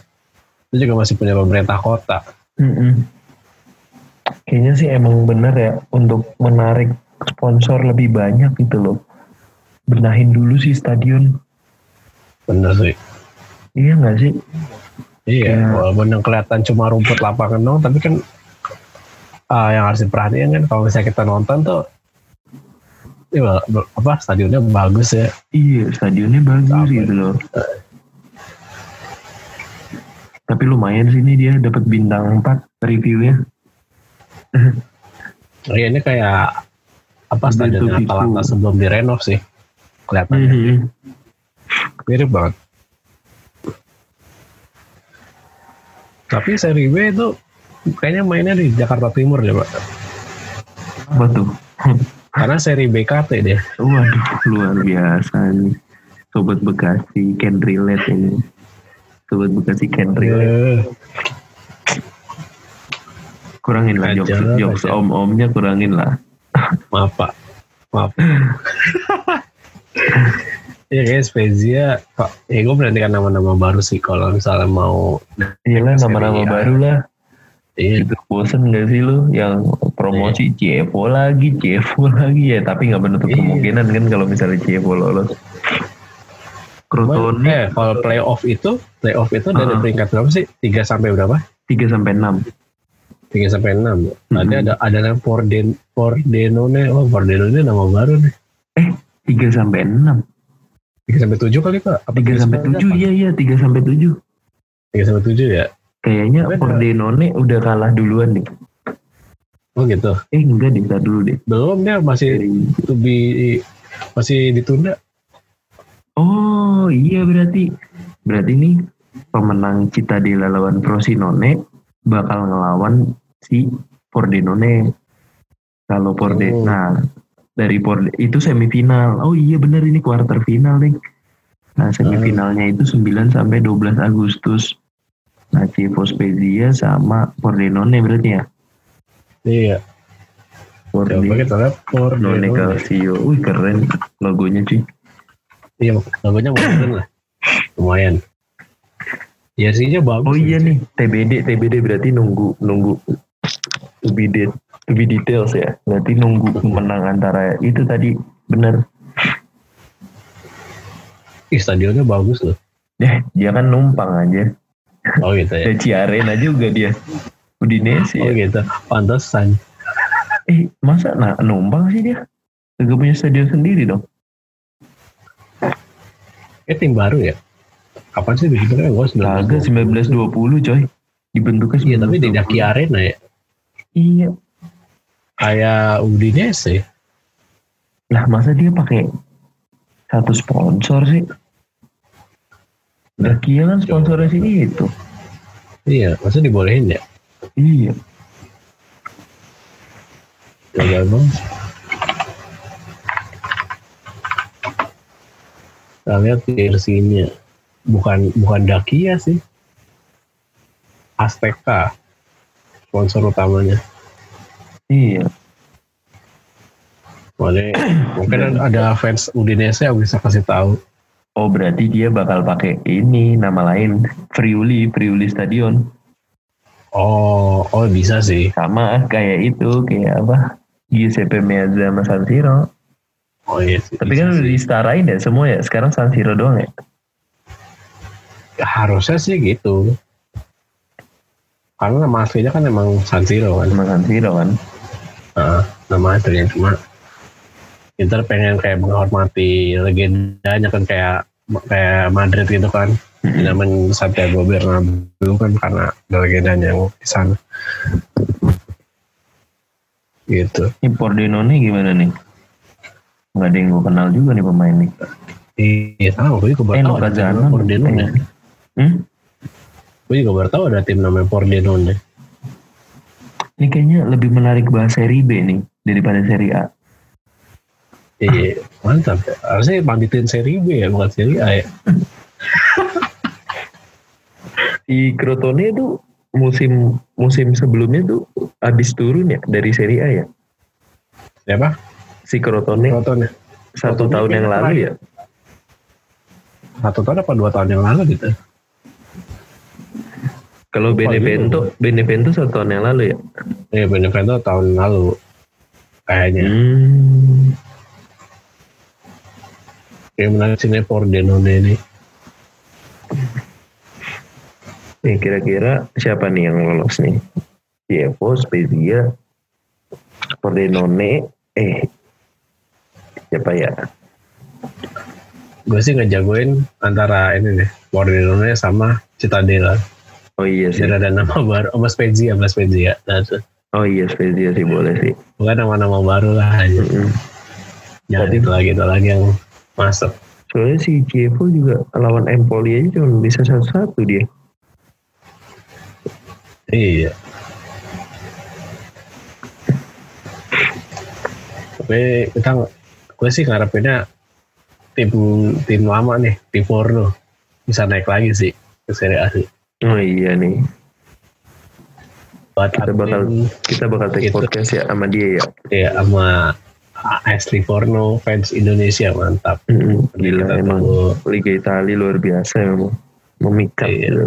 [SPEAKER 2] itu juga masih punya pemerintah kota.
[SPEAKER 1] Mm-mm. Kayaknya sih emang bener ya untuk menarik sponsor lebih banyak gitu loh. Benahin dulu sih stadion,
[SPEAKER 2] Bener sih.
[SPEAKER 1] iya nggak sih?
[SPEAKER 2] Iya,
[SPEAKER 1] Kayak-
[SPEAKER 2] walaupun yang kelihatan cuma rumput lapangan dong, tapi kan ah, yang harus diperhatiin kan kalau misalnya kita nonton tuh Iya, apa stadionnya bagus ya.
[SPEAKER 1] Iya, stadionnya bagus
[SPEAKER 2] Apa ya?
[SPEAKER 1] gitu loh. Tapi lumayan sih ini dia dapat bintang 4 reviewnya.
[SPEAKER 2] Iya ini kayak apa
[SPEAKER 1] Bentuk
[SPEAKER 2] stadion
[SPEAKER 1] itu.
[SPEAKER 2] Atalanta sebelum direnov sih kelihatannya
[SPEAKER 1] Mhm.
[SPEAKER 2] mirip banget. Tapi seri B itu kayaknya mainnya di Jakarta Timur deh pak,
[SPEAKER 1] Apa tuh?
[SPEAKER 2] karena seri BKT deh.
[SPEAKER 1] Waduh, luar biasa nih. Sobat Bekasi can relate ini. Sobat Bekasi can relate.
[SPEAKER 2] Eh,
[SPEAKER 1] Kurangin lah jokes,
[SPEAKER 2] Ajar,
[SPEAKER 1] jokes
[SPEAKER 2] ajar.
[SPEAKER 1] om-omnya kurangin lah.
[SPEAKER 2] maaf pak, maaf. Iya kayaknya Spezia, pak. Ya gue menantikan nama-nama baru sih kalau misalnya mau.
[SPEAKER 1] Iyalah
[SPEAKER 2] Seri
[SPEAKER 1] Iya nama-nama
[SPEAKER 2] A.
[SPEAKER 1] baru lah.
[SPEAKER 2] Iya,
[SPEAKER 1] Itu gitu. bosen gak sih lu yang promosi CFO lagi, CFO lagi ya. Tapi nggak menutup
[SPEAKER 2] Iya.
[SPEAKER 1] kemungkinan kan kalau misalnya CFO lolos.
[SPEAKER 2] Cuman,
[SPEAKER 1] Crotone
[SPEAKER 2] eh, kalau playoff itu, playoff itu dari
[SPEAKER 1] Uh-uh.
[SPEAKER 2] peringkat berapa sih? 3 sampai berapa?
[SPEAKER 1] 3 sampai 6.
[SPEAKER 2] 3 sampai 6. Ada
[SPEAKER 1] Mhm.
[SPEAKER 2] ada ada yang Forden Fordenone. Oh, Fordenone nama baru nih.
[SPEAKER 1] 3 sampai 6.
[SPEAKER 2] 3 sampai 7 kali, Pak. Apa
[SPEAKER 1] 3 sampai iya. 7 iya iya 3 sampai 7.
[SPEAKER 2] 3 sampai 7 ya.
[SPEAKER 1] Kayaknya
[SPEAKER 2] Beda.
[SPEAKER 1] Pordenone udah kalah duluan nih.
[SPEAKER 2] Oh, gitu.
[SPEAKER 1] Eh enggak deh, ntar dulu deh.
[SPEAKER 2] Belum dia masih
[SPEAKER 1] Dari-
[SPEAKER 2] to be masih ditunda.
[SPEAKER 1] Oh iya berarti berarti nih pemenang Citadela lawan Frosinone bakal ngelawan si Pordenone. Kalau Porde,
[SPEAKER 2] Oh.
[SPEAKER 1] nah dari Porde itu semifinal. Oh iya bener ini quarter final nih. Nah semifinalnya itu 9 sampai 12 Agustus. Nah Chievo Spezia sama Pordenone berarti ya.
[SPEAKER 2] Iya. Ya, Coba
[SPEAKER 1] Pordenone
[SPEAKER 2] kita lihat
[SPEAKER 1] Pordenone
[SPEAKER 2] Fordenone.
[SPEAKER 1] Calcio. Wih keren logonya cuy.
[SPEAKER 2] Iya, lagunya modern lah. Lumayan. Jersinya bagus.
[SPEAKER 1] Oh iya
[SPEAKER 2] sih.
[SPEAKER 1] nih, TBD TBD berarti nunggu nunggu to be, de- to be details ya. Berarti nunggu pemenang antara itu tadi bener.
[SPEAKER 2] Ih, stadionnya bagus loh.
[SPEAKER 1] Ya, dia kan numpang aja.
[SPEAKER 2] Oh gitu ya.
[SPEAKER 1] Ada Ciarena juga dia. Udinese
[SPEAKER 2] Oh
[SPEAKER 1] ya.
[SPEAKER 2] gitu. Pantesan.
[SPEAKER 1] Eh, masa nah, numpang sih dia? Gak punya stadion sendiri dong.
[SPEAKER 2] Eh tim baru ya? Kapan sih dibentuknya? Gue
[SPEAKER 1] Laga 1920 coy. Dibentuknya
[SPEAKER 2] Iya tapi tidak di Arena ya.
[SPEAKER 1] Iya.
[SPEAKER 2] Kayak Udinese.
[SPEAKER 1] Lah masa dia pakai satu sponsor sih? Udah kia kan sponsornya sih itu.
[SPEAKER 2] Iya, masa dibolehin ya?
[SPEAKER 1] Iya.
[SPEAKER 2] Gagal banget. Nah, lihat jersinya. Bukan bukan Dakia sih. Azteca sponsor utamanya.
[SPEAKER 1] Iya.
[SPEAKER 2] Boleh. Mungkin ada fans Udinese yang bisa kasih tahu.
[SPEAKER 1] Oh berarti dia bakal pakai ini nama lain Friuli Friuli Stadion
[SPEAKER 2] Oh, oh bisa sih.
[SPEAKER 1] sama kayak itu kayak apa Giuseppe Meazza sama San Siro.
[SPEAKER 2] Oh iya. sih,
[SPEAKER 1] Tapi
[SPEAKER 2] bisa
[SPEAKER 1] kan udah
[SPEAKER 2] sih.
[SPEAKER 1] disetarain ya semua ya sekarang San Siro doang ya.
[SPEAKER 2] harusnya sih gitu. Karena nama aslinya kan emang San Siro kan.
[SPEAKER 1] Sama San Siro kan.
[SPEAKER 2] Nah, nama aslinya cuma Inter pengen kayak menghormati legendanya kan kayak kayak Madrid gitu kan. Namanya Santiago Bernabeu kan karena ada legendanya yang di sana. Gitu.
[SPEAKER 1] Ini Pordenone gimana nih? Nggak ada yang gue kenal juga nih pemain nih.
[SPEAKER 2] Iya, tahu gue juga baru
[SPEAKER 1] Eh,
[SPEAKER 2] tahu
[SPEAKER 1] Luka
[SPEAKER 2] ada tim
[SPEAKER 1] Zanon.
[SPEAKER 2] namanya Pordenone.
[SPEAKER 1] Eh. Hmm?
[SPEAKER 2] Gue juga baru tahu ada tim namanya Pordenone.
[SPEAKER 1] Ini kayaknya lebih menarik bahas seri B nih daripada seri A.
[SPEAKER 2] Iya, mantap. Harusnya panditin seri B ya, bukan seri A ya.
[SPEAKER 1] Di Crotone itu musim musim sebelumnya tuh habis turun ya dari seri A ya.
[SPEAKER 2] Siapa?
[SPEAKER 1] Si Crotone
[SPEAKER 2] Proton ya?
[SPEAKER 1] satu
[SPEAKER 2] Crotone
[SPEAKER 1] tahun yang
[SPEAKER 2] kayaknya
[SPEAKER 1] lalu ya.
[SPEAKER 2] Satu tahun apa dua tahun yang lalu gitu?
[SPEAKER 1] Kalau
[SPEAKER 2] Lupa
[SPEAKER 1] Benevento, Benevento satu tahun yang lalu ya.
[SPEAKER 2] Iya, Benevento tahun lalu. Kayaknya.
[SPEAKER 1] Hmm.
[SPEAKER 2] Yang menarik sini Pordenone ini.
[SPEAKER 1] Nih kira-kira siapa nih yang lolos nih? Cievo, Spezia, Pordenone, eh siapa ya?
[SPEAKER 2] Gue sih ngejagoin antara ini nih, Pordenone sama Citadela.
[SPEAKER 1] Oh iya sih,
[SPEAKER 2] Citadela ada nama baru, sama Spezia, sama Spezia. Nah, itu.
[SPEAKER 1] oh iya Spezia sih boleh sih.
[SPEAKER 2] bukan nama-nama baru lah. aja.
[SPEAKER 1] Mm-mm.
[SPEAKER 2] Jangan
[SPEAKER 1] Tapi-
[SPEAKER 2] itu lagi, itu lagi yang masuk.
[SPEAKER 1] Soalnya si Cievo juga lawan Empoli aja cuma bisa satu-satu dia.
[SPEAKER 2] Iya. Tapi kita gue sih ngarepinnya tim tim lama nih, tim Forno bisa naik lagi sih ke Serie A sih.
[SPEAKER 1] Oh iya nih,
[SPEAKER 2] Buat
[SPEAKER 1] kita bakal kita bakal take
[SPEAKER 2] Itu.
[SPEAKER 1] podcast ya sama dia ya.
[SPEAKER 2] ya sama AS Livorno fans Indonesia mantap.
[SPEAKER 1] Mm-mm. Gila
[SPEAKER 2] Kita
[SPEAKER 1] emang
[SPEAKER 2] tunggu.
[SPEAKER 1] Liga Italia luar biasa emang memikat.
[SPEAKER 2] Iya.
[SPEAKER 1] gitu.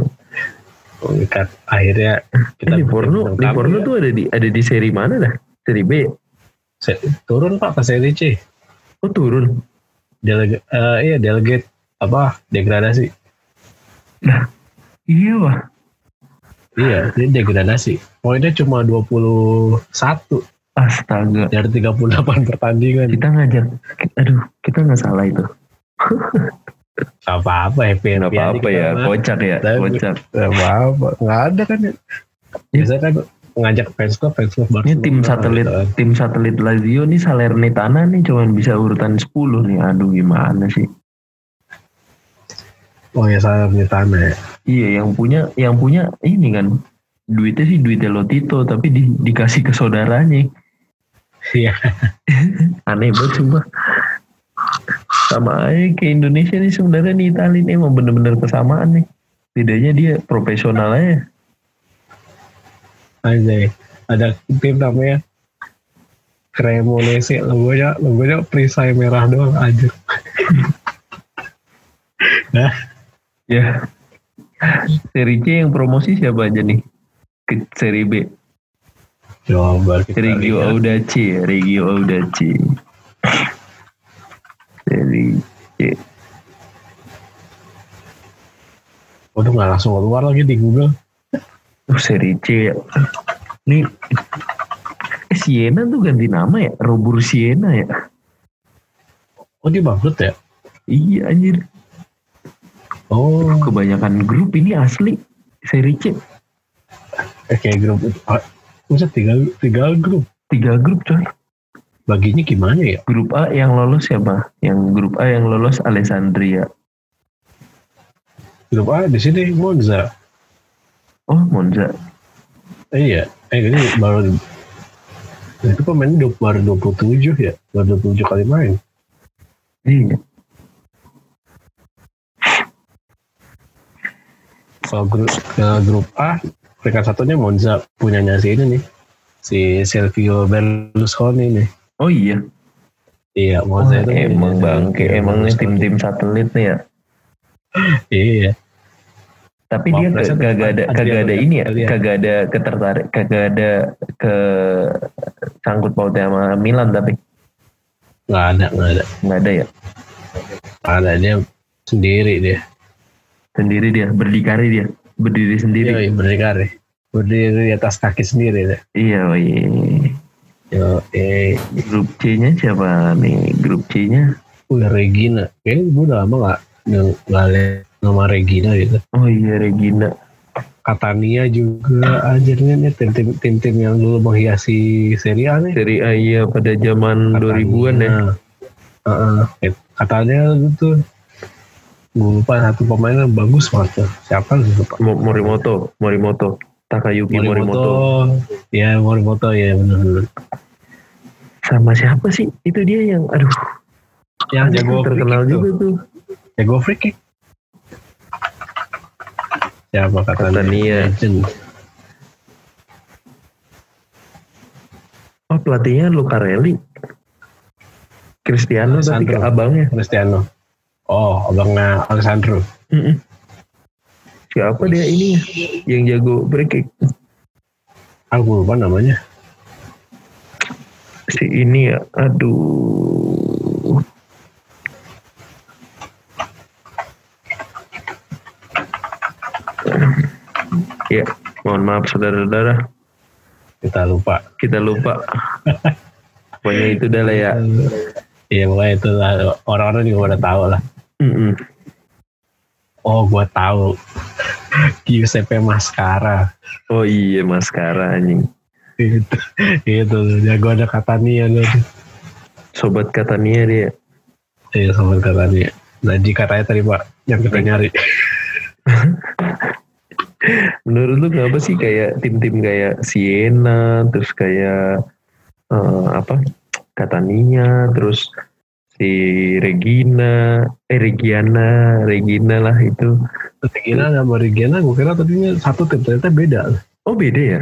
[SPEAKER 2] Mengikat akhirnya
[SPEAKER 1] Eh,
[SPEAKER 2] kita
[SPEAKER 1] Livorno,
[SPEAKER 2] bintang tamu
[SPEAKER 1] Livorno
[SPEAKER 2] ya.
[SPEAKER 1] tuh ada di ada di seri mana dah? Seri B. ya?
[SPEAKER 2] Se- turun Pak ke Serie C.
[SPEAKER 1] Oh turun.
[SPEAKER 2] Delega, eh, iya delegate apa degradasi.
[SPEAKER 1] Iya wah.
[SPEAKER 2] Iya, dia degradasi. Poinnya cuma 21
[SPEAKER 1] Astaga.
[SPEAKER 2] dari 38 pertandingan.
[SPEAKER 1] Kita ngajak. ki- Aduh, kita nggak salah itu.
[SPEAKER 2] Gak apa-apa, happy
[SPEAKER 1] Nggak apa-apa ya. Kocak ya.
[SPEAKER 2] Tapi-
[SPEAKER 1] Kocak.
[SPEAKER 2] Gak apa-apa, nggak ada kan ya. Biasanya kan ngajak fans club, fans club
[SPEAKER 1] Ini
[SPEAKER 2] Barcelona
[SPEAKER 1] tim satelit,
[SPEAKER 2] gitu kan.
[SPEAKER 1] tim satelit Lazio nih Salernitana nih cuman bisa urutan 10 nih. Aduh gimana sih?
[SPEAKER 2] Oh ya, Salernitana ya.
[SPEAKER 1] Iya, yang punya yang punya ini kan duitnya sih duitnya Lotito tapi di- dikasih ke saudaranya.
[SPEAKER 2] Iya,
[SPEAKER 1] Aneh banget sumpah. Sama aja ke Indonesia nih sebenarnya nih Itali nih emang bener-bener kesamaan nih. Bedanya dia profesional aja.
[SPEAKER 2] anjay. Ada tim namanya Cremonese, logonya, logonya perisai merah doang aja. nah,
[SPEAKER 1] Ya. Seri C yang promosi siapa aja nih? Ke seri B.
[SPEAKER 2] coba kita
[SPEAKER 1] Regio
[SPEAKER 2] lihat.
[SPEAKER 1] Audaci, ya, Regio Audaci. Seri C.
[SPEAKER 2] Waduh, nggak langsung keluar lagi di Google.
[SPEAKER 1] Oh, seri C ya. Nih. Eh, Siena tuh ganti nama ya? Robur Siena ya?
[SPEAKER 2] Oh, dia bangkrut ya?
[SPEAKER 1] Iya anjir.
[SPEAKER 2] Oh,
[SPEAKER 1] Kebanyakan grup ini asli. Seri C.
[SPEAKER 2] kayak eh, grup Ah, Masa tiga, tiga grup?
[SPEAKER 1] Tiga grup coy.
[SPEAKER 2] Baginya gimana ya?
[SPEAKER 1] Grup A yang lolos siapa? Yang grup A yang lolos Alessandria.
[SPEAKER 2] Grup A di sini Monza.
[SPEAKER 1] Oh Monza.
[SPEAKER 2] Eh, iya. Eh ini baru Nah, itu pemainnya du- baru 27 ya. Baru 27 kali main.
[SPEAKER 1] Iya.
[SPEAKER 2] Kalau grup, eh, grup A peringkat satunya Monza punyanya si ini nih. Si Silvio Berlusconi nih.
[SPEAKER 1] Oh iya.
[SPEAKER 2] Iya, Monza
[SPEAKER 1] Wah,
[SPEAKER 2] itu
[SPEAKER 1] emang
[SPEAKER 2] punyanya
[SPEAKER 1] bangke,
[SPEAKER 2] Silvio
[SPEAKER 1] emang nih
[SPEAKER 2] Berlusconi.
[SPEAKER 1] tim-tim satelit nih ya.
[SPEAKER 2] Iya.
[SPEAKER 1] Tapi
[SPEAKER 2] Wah,
[SPEAKER 1] dia
[SPEAKER 2] presnya
[SPEAKER 1] kagak ada
[SPEAKER 2] Adriano
[SPEAKER 1] kagak ada ini ya,
[SPEAKER 2] Adriano.
[SPEAKER 1] kagak ada ketertarik, kagak ada ke sangkut pautnya sama Milan tapi
[SPEAKER 2] Nggak ada, nggak ada.
[SPEAKER 1] nggak ada ya.
[SPEAKER 2] Nggak ada dia sendiri dia.
[SPEAKER 1] Sendiri dia, berdikari dia, berdiri sendiri.
[SPEAKER 2] Iya, berdikari. Berdiri di atas kaki sendiri deh.
[SPEAKER 1] Iya, oh iya.
[SPEAKER 2] Yo, eh,
[SPEAKER 1] Grup C-nya siapa nih? Grup C-nya?
[SPEAKER 2] udah Regina. Kayaknya gue udah lama nggak nggak nggak lihat nama Regina gitu.
[SPEAKER 1] Oh iya Regina.
[SPEAKER 2] Katania juga akhirnya nih tim-tim tim-tim yang dulu menghiasi Serie A nih.
[SPEAKER 1] Seri A iya pada zaman 2000-an ya.
[SPEAKER 2] Heeh. Eh, katanya gitu. Gue lupa satu pemain yang bagus banget. tuh. Siapa gitu Pak?
[SPEAKER 1] Mo- Morimoto, Morimoto, Takayuki Iya, Morimoto.
[SPEAKER 2] Morimoto. Ya Morimoto ya benar-benar.
[SPEAKER 1] Sama siapa sih? Itu dia yang aduh,
[SPEAKER 2] Yang jago free
[SPEAKER 1] terkenal
[SPEAKER 2] kick tuh.
[SPEAKER 1] juga tuh.
[SPEAKER 2] Jago free kick. Siapa katanya?
[SPEAKER 1] Catania.
[SPEAKER 2] Legend.
[SPEAKER 1] Oh, pelatihnya Lucarelli. Cristiano tapi
[SPEAKER 2] Sandro.
[SPEAKER 1] ke abangnya.
[SPEAKER 2] Cristiano. Oh, abangnya Alessandro.
[SPEAKER 1] Mm-mm. Siapa dia ini ya? yang jago free kick?
[SPEAKER 2] Aku Ah, lupa namanya.
[SPEAKER 1] Si ini ya. Aduh. Ya, mohon maaf saudara-saudara,
[SPEAKER 2] Kita lupa.
[SPEAKER 1] kita lupa. Pokoknya itu dah lah ya.
[SPEAKER 2] Iya, pokoknya itu lah. Orang-orang juga udah tahu lah.
[SPEAKER 1] Mm-mm.
[SPEAKER 2] Oh, gua tahu. Giuseppe Mascara.
[SPEAKER 1] Oh iya maskara anjing.
[SPEAKER 2] Itu, itu jago ada Catania tuh.
[SPEAKER 1] Sobat Katania dia.
[SPEAKER 2] Iya, sama Catania. Nah, jika katanya tadi Pak, yang
[SPEAKER 1] Hmm.
[SPEAKER 2] kita nyari.
[SPEAKER 1] Menurut lu kenapa sih kayak tim-tim kayak Siena, terus kayak eh, apa? Catania, terus si Regina, eh Regiana, Regina lah itu.
[SPEAKER 2] Regina sama Regina, gue kira tadinya satu tim. Ternyata beda.
[SPEAKER 1] Oh beda ya?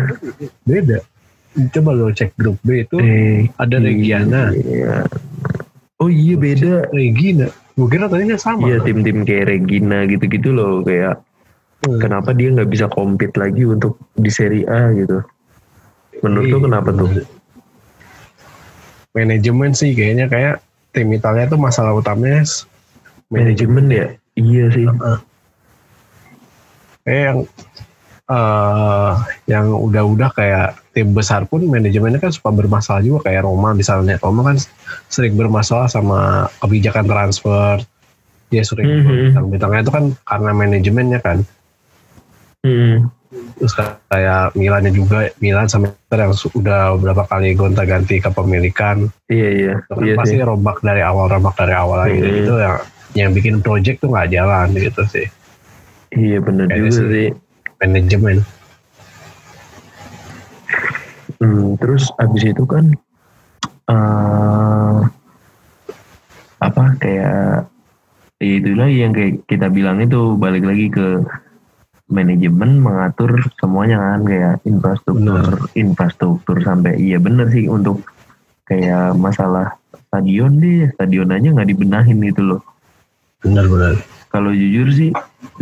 [SPEAKER 2] Beda. Coba lo cek grup B itu.
[SPEAKER 1] Eh,
[SPEAKER 2] Ada Regiana.
[SPEAKER 1] iya. Oh iya beda.
[SPEAKER 2] Regina. Gue kira tadinya sama.
[SPEAKER 1] Iya tim-tim kayak Regina gitu-gitu loh kayak
[SPEAKER 2] Hmm.
[SPEAKER 1] kenapa dia nggak bisa compete lagi untuk di Serie A gitu? Menurut lu
[SPEAKER 2] Iya,
[SPEAKER 1] kenapa tuh?
[SPEAKER 2] bener. Manajemen sih kayaknya kayak tim Italia itu masalah utamanya s-
[SPEAKER 1] Manajemen
[SPEAKER 2] manajemen.
[SPEAKER 1] ya? Iya sih.
[SPEAKER 2] Kayak yang eh, yang udah-udah kayak tim besar pun manajemennya kan suka bermasalah juga kayak Roma misalnya. Roma kan s- sering bermasalah sama kebijakan transfer. Dia sering
[SPEAKER 1] Mhm.
[SPEAKER 2] bintang-bintangnya itu kan karena manajemennya kan.
[SPEAKER 1] Mm-mm.
[SPEAKER 2] terus kayak Milannya juga Milan sama Inter yang sudah beberapa kali gonta-ganti kepemilikan
[SPEAKER 1] Iya iya.
[SPEAKER 2] itu kan
[SPEAKER 1] iya
[SPEAKER 2] pasti
[SPEAKER 1] sih.
[SPEAKER 2] rombak dari awal rombak dari awal lagi
[SPEAKER 1] Hmm.
[SPEAKER 2] gitu yang yang bikin project tuh nggak jalan gitu sih
[SPEAKER 1] Iya benar
[SPEAKER 2] Kayaknya
[SPEAKER 1] juga sih.
[SPEAKER 2] sih. manajemen
[SPEAKER 1] Hmm, terus abis itu kan eh apa kayak ya itu lagi yang kayak kita bilang itu balik lagi ke manajemen mengatur semuanya kan kayak infrastruktur infrastruktur sampai iya bener sih untuk kayak masalah stadion deh stadion aja nggak dibenahin gitu loh
[SPEAKER 2] benar-benar
[SPEAKER 1] kalau jujur sih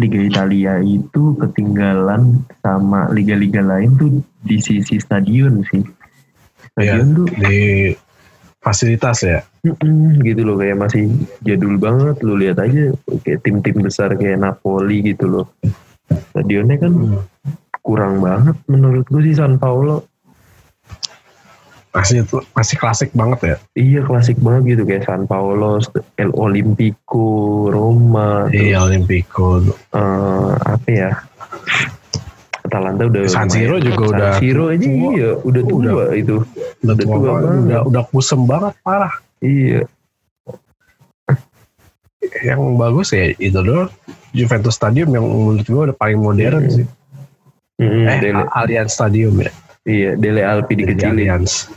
[SPEAKER 1] Liga Italia itu ketinggalan sama liga-liga lain tuh di sisi stadion sih.
[SPEAKER 2] ya
[SPEAKER 1] Stadion tuh
[SPEAKER 2] di fasilitas ya
[SPEAKER 1] mm-mm, gitu loh kayak masih jadul banget lu lihat aja kayak tim-tim besar kayak Napoli gitu loh. Stadionnya kan kurang banget menurut gue sih San Paolo.
[SPEAKER 2] masih itu masih klasik banget ya
[SPEAKER 1] Iya klasik banget gitu kayak San Paolo, El Nah, Olimpico, Roma,
[SPEAKER 2] di Olimpico
[SPEAKER 1] eh, apa ya? Atalanta udah
[SPEAKER 2] San Siro
[SPEAKER 1] lumayan.
[SPEAKER 2] juga
[SPEAKER 1] San
[SPEAKER 2] udah
[SPEAKER 1] Siro aja
[SPEAKER 2] tua.
[SPEAKER 1] iya udah tua
[SPEAKER 2] Udah.
[SPEAKER 1] itu
[SPEAKER 2] udah tua
[SPEAKER 1] tua
[SPEAKER 2] banget,
[SPEAKER 1] banget.
[SPEAKER 2] udah udah kusem banget parah
[SPEAKER 1] iya
[SPEAKER 2] yang bagus ya itu doang Juventus Stadium yang menurut gue udah paling modern
[SPEAKER 1] Hmm.
[SPEAKER 2] sih
[SPEAKER 1] Mm-mm,
[SPEAKER 2] eh
[SPEAKER 1] Dele,
[SPEAKER 2] A- Allianz Stadium ya
[SPEAKER 1] iya Dele Alpi dikecilin
[SPEAKER 2] Allianz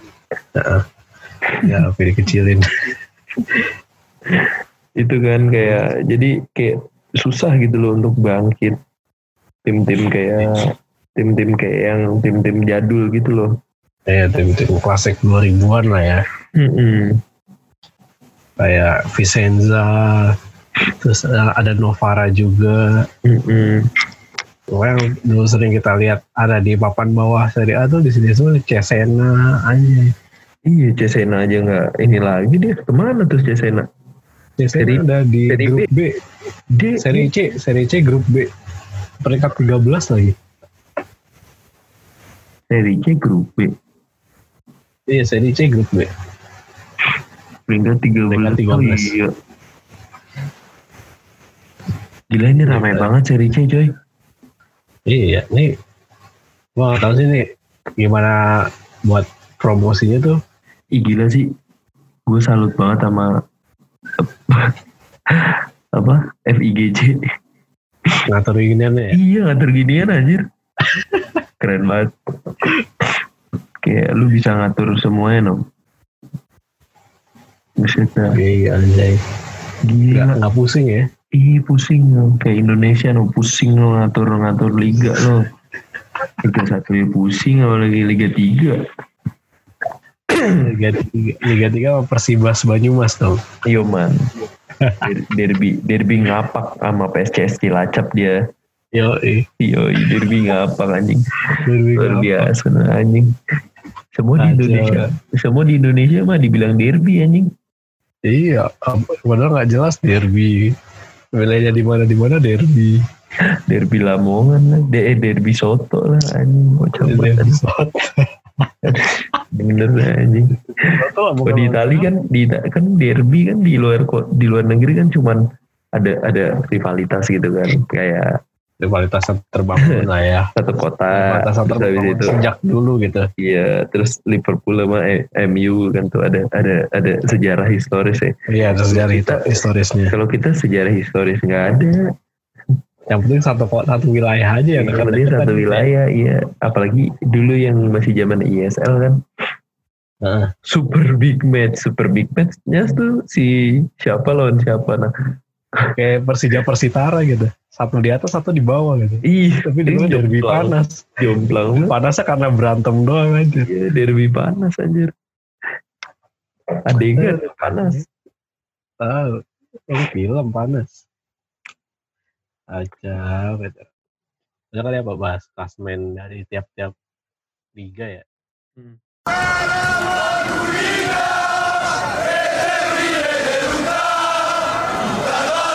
[SPEAKER 2] Heeh. ya lebih dikecilin
[SPEAKER 1] itu kan kayak jadi kayak susah gitu loh untuk bangkit tim-tim kayak tim-tim kayak yang tim-tim jadul gitu loh
[SPEAKER 2] ya tim-tim klasik 2000-an lah ya
[SPEAKER 1] Mm-mm.
[SPEAKER 2] kayak Vicenza terus eh, ada Novara juga
[SPEAKER 1] Mm-mm.
[SPEAKER 2] Well, dulu sering kita lihat ada di papan bawah Serie A tuh di sini semua Cesena anjay.
[SPEAKER 1] Iya Cesena aja nggak ini lagi dia kemana terus Cesena? Seri-
[SPEAKER 2] Cesena ada di
[SPEAKER 1] Seri
[SPEAKER 2] grup B,
[SPEAKER 1] Dia
[SPEAKER 2] Serie C, Serie C grup B. Peringkat 13 lagi.
[SPEAKER 1] seri C grup B
[SPEAKER 2] Iya, Serie C grup B.
[SPEAKER 1] peringkat 13.
[SPEAKER 2] Peringkat 13.
[SPEAKER 1] Oh, iya. Gila ini ramai
[SPEAKER 2] Peringkat-
[SPEAKER 1] banget seri C coy.
[SPEAKER 2] Iya, nih gua nggak tahu sih nih gimana buat promosinya tuh.
[SPEAKER 1] Ih gila sih. Gue salut banget sama apa FIGC.
[SPEAKER 2] ngatur giniannya ya.
[SPEAKER 1] Iya ngatur ginian anjir. Keren banget. Kayak lu bisa ngatur semuanya nom. Buset dah.
[SPEAKER 2] Iya, anjay.
[SPEAKER 1] Gila.
[SPEAKER 2] Nggak, nggak pusing ya.
[SPEAKER 1] Ih pusing lo. kayak Indonesia lo pusing lo ngatur ngatur liga lo. Liga satu ya pusing apalagi Liga tiga.
[SPEAKER 2] Liga 3, Liga 3 sama Persibas Banyumas dong.
[SPEAKER 1] Yo Iya, man. Der- Derby derby ngapak sama PSCS Cilacap dia.
[SPEAKER 2] Yo,
[SPEAKER 1] Yo derby ngapak anjing. Luar
[SPEAKER 2] Iya,
[SPEAKER 1] biasa anjing. Semua di
[SPEAKER 2] Kacau.
[SPEAKER 1] Indonesia, semua di Indonesia mah dibilang derby anjing.
[SPEAKER 2] Iya, apa- padahal nggak jelas derby. Wilayahnya di mana di mana derby.
[SPEAKER 1] Derby Lamongan lah, de eh, derby Soto lah anjing. Kocak banget.
[SPEAKER 2] Derby Soto.
[SPEAKER 1] Bener lah, anjing.
[SPEAKER 2] Soto lah,
[SPEAKER 1] Kalau
[SPEAKER 2] bukan
[SPEAKER 1] di Itali kan di kan derby kan di luar ko- di luar negeri kan cuman ada ada rivalitas gitu kan kayak
[SPEAKER 2] Rivalitas yang terbangun lah ya.
[SPEAKER 1] satu kota
[SPEAKER 2] Rivalitas yang
[SPEAKER 1] terus habis
[SPEAKER 2] terbangun
[SPEAKER 1] itu
[SPEAKER 2] sejak dulu gitu.
[SPEAKER 1] iya terus Liverpool sama E- MU kan tuh ada ada ada sejarah historis ya
[SPEAKER 2] Iya, ada sejarah itu historisnya.
[SPEAKER 1] kalau kita sejarah historis nggak ada
[SPEAKER 2] Yang penting satu ko- satu wilayah aja yang
[SPEAKER 1] yang Iya, penting
[SPEAKER 2] dekat-dekat.
[SPEAKER 1] satu wilayah iya apalagi dulu yang masih zaman ISL kan
[SPEAKER 2] Heeh.
[SPEAKER 1] super big match super big matchnya tuh si siapa lawan siapa nah
[SPEAKER 2] Kayak Persija Persitara gitu. Satu di atas, satu di bawah gitu.
[SPEAKER 1] iya
[SPEAKER 2] Tapi dulu
[SPEAKER 1] ini
[SPEAKER 2] derby
[SPEAKER 1] jomplang-
[SPEAKER 2] panas.
[SPEAKER 1] jomplang banget.
[SPEAKER 2] Panasnya karena berantem doang aja.
[SPEAKER 1] Iya, derby panas anjir. Adegan panas.
[SPEAKER 2] Eh, Tahu. Ini film panas. Aja, beda. Udah kali apa bahas klasmen dari tiap-tiap liga ya?
[SPEAKER 3] Italia!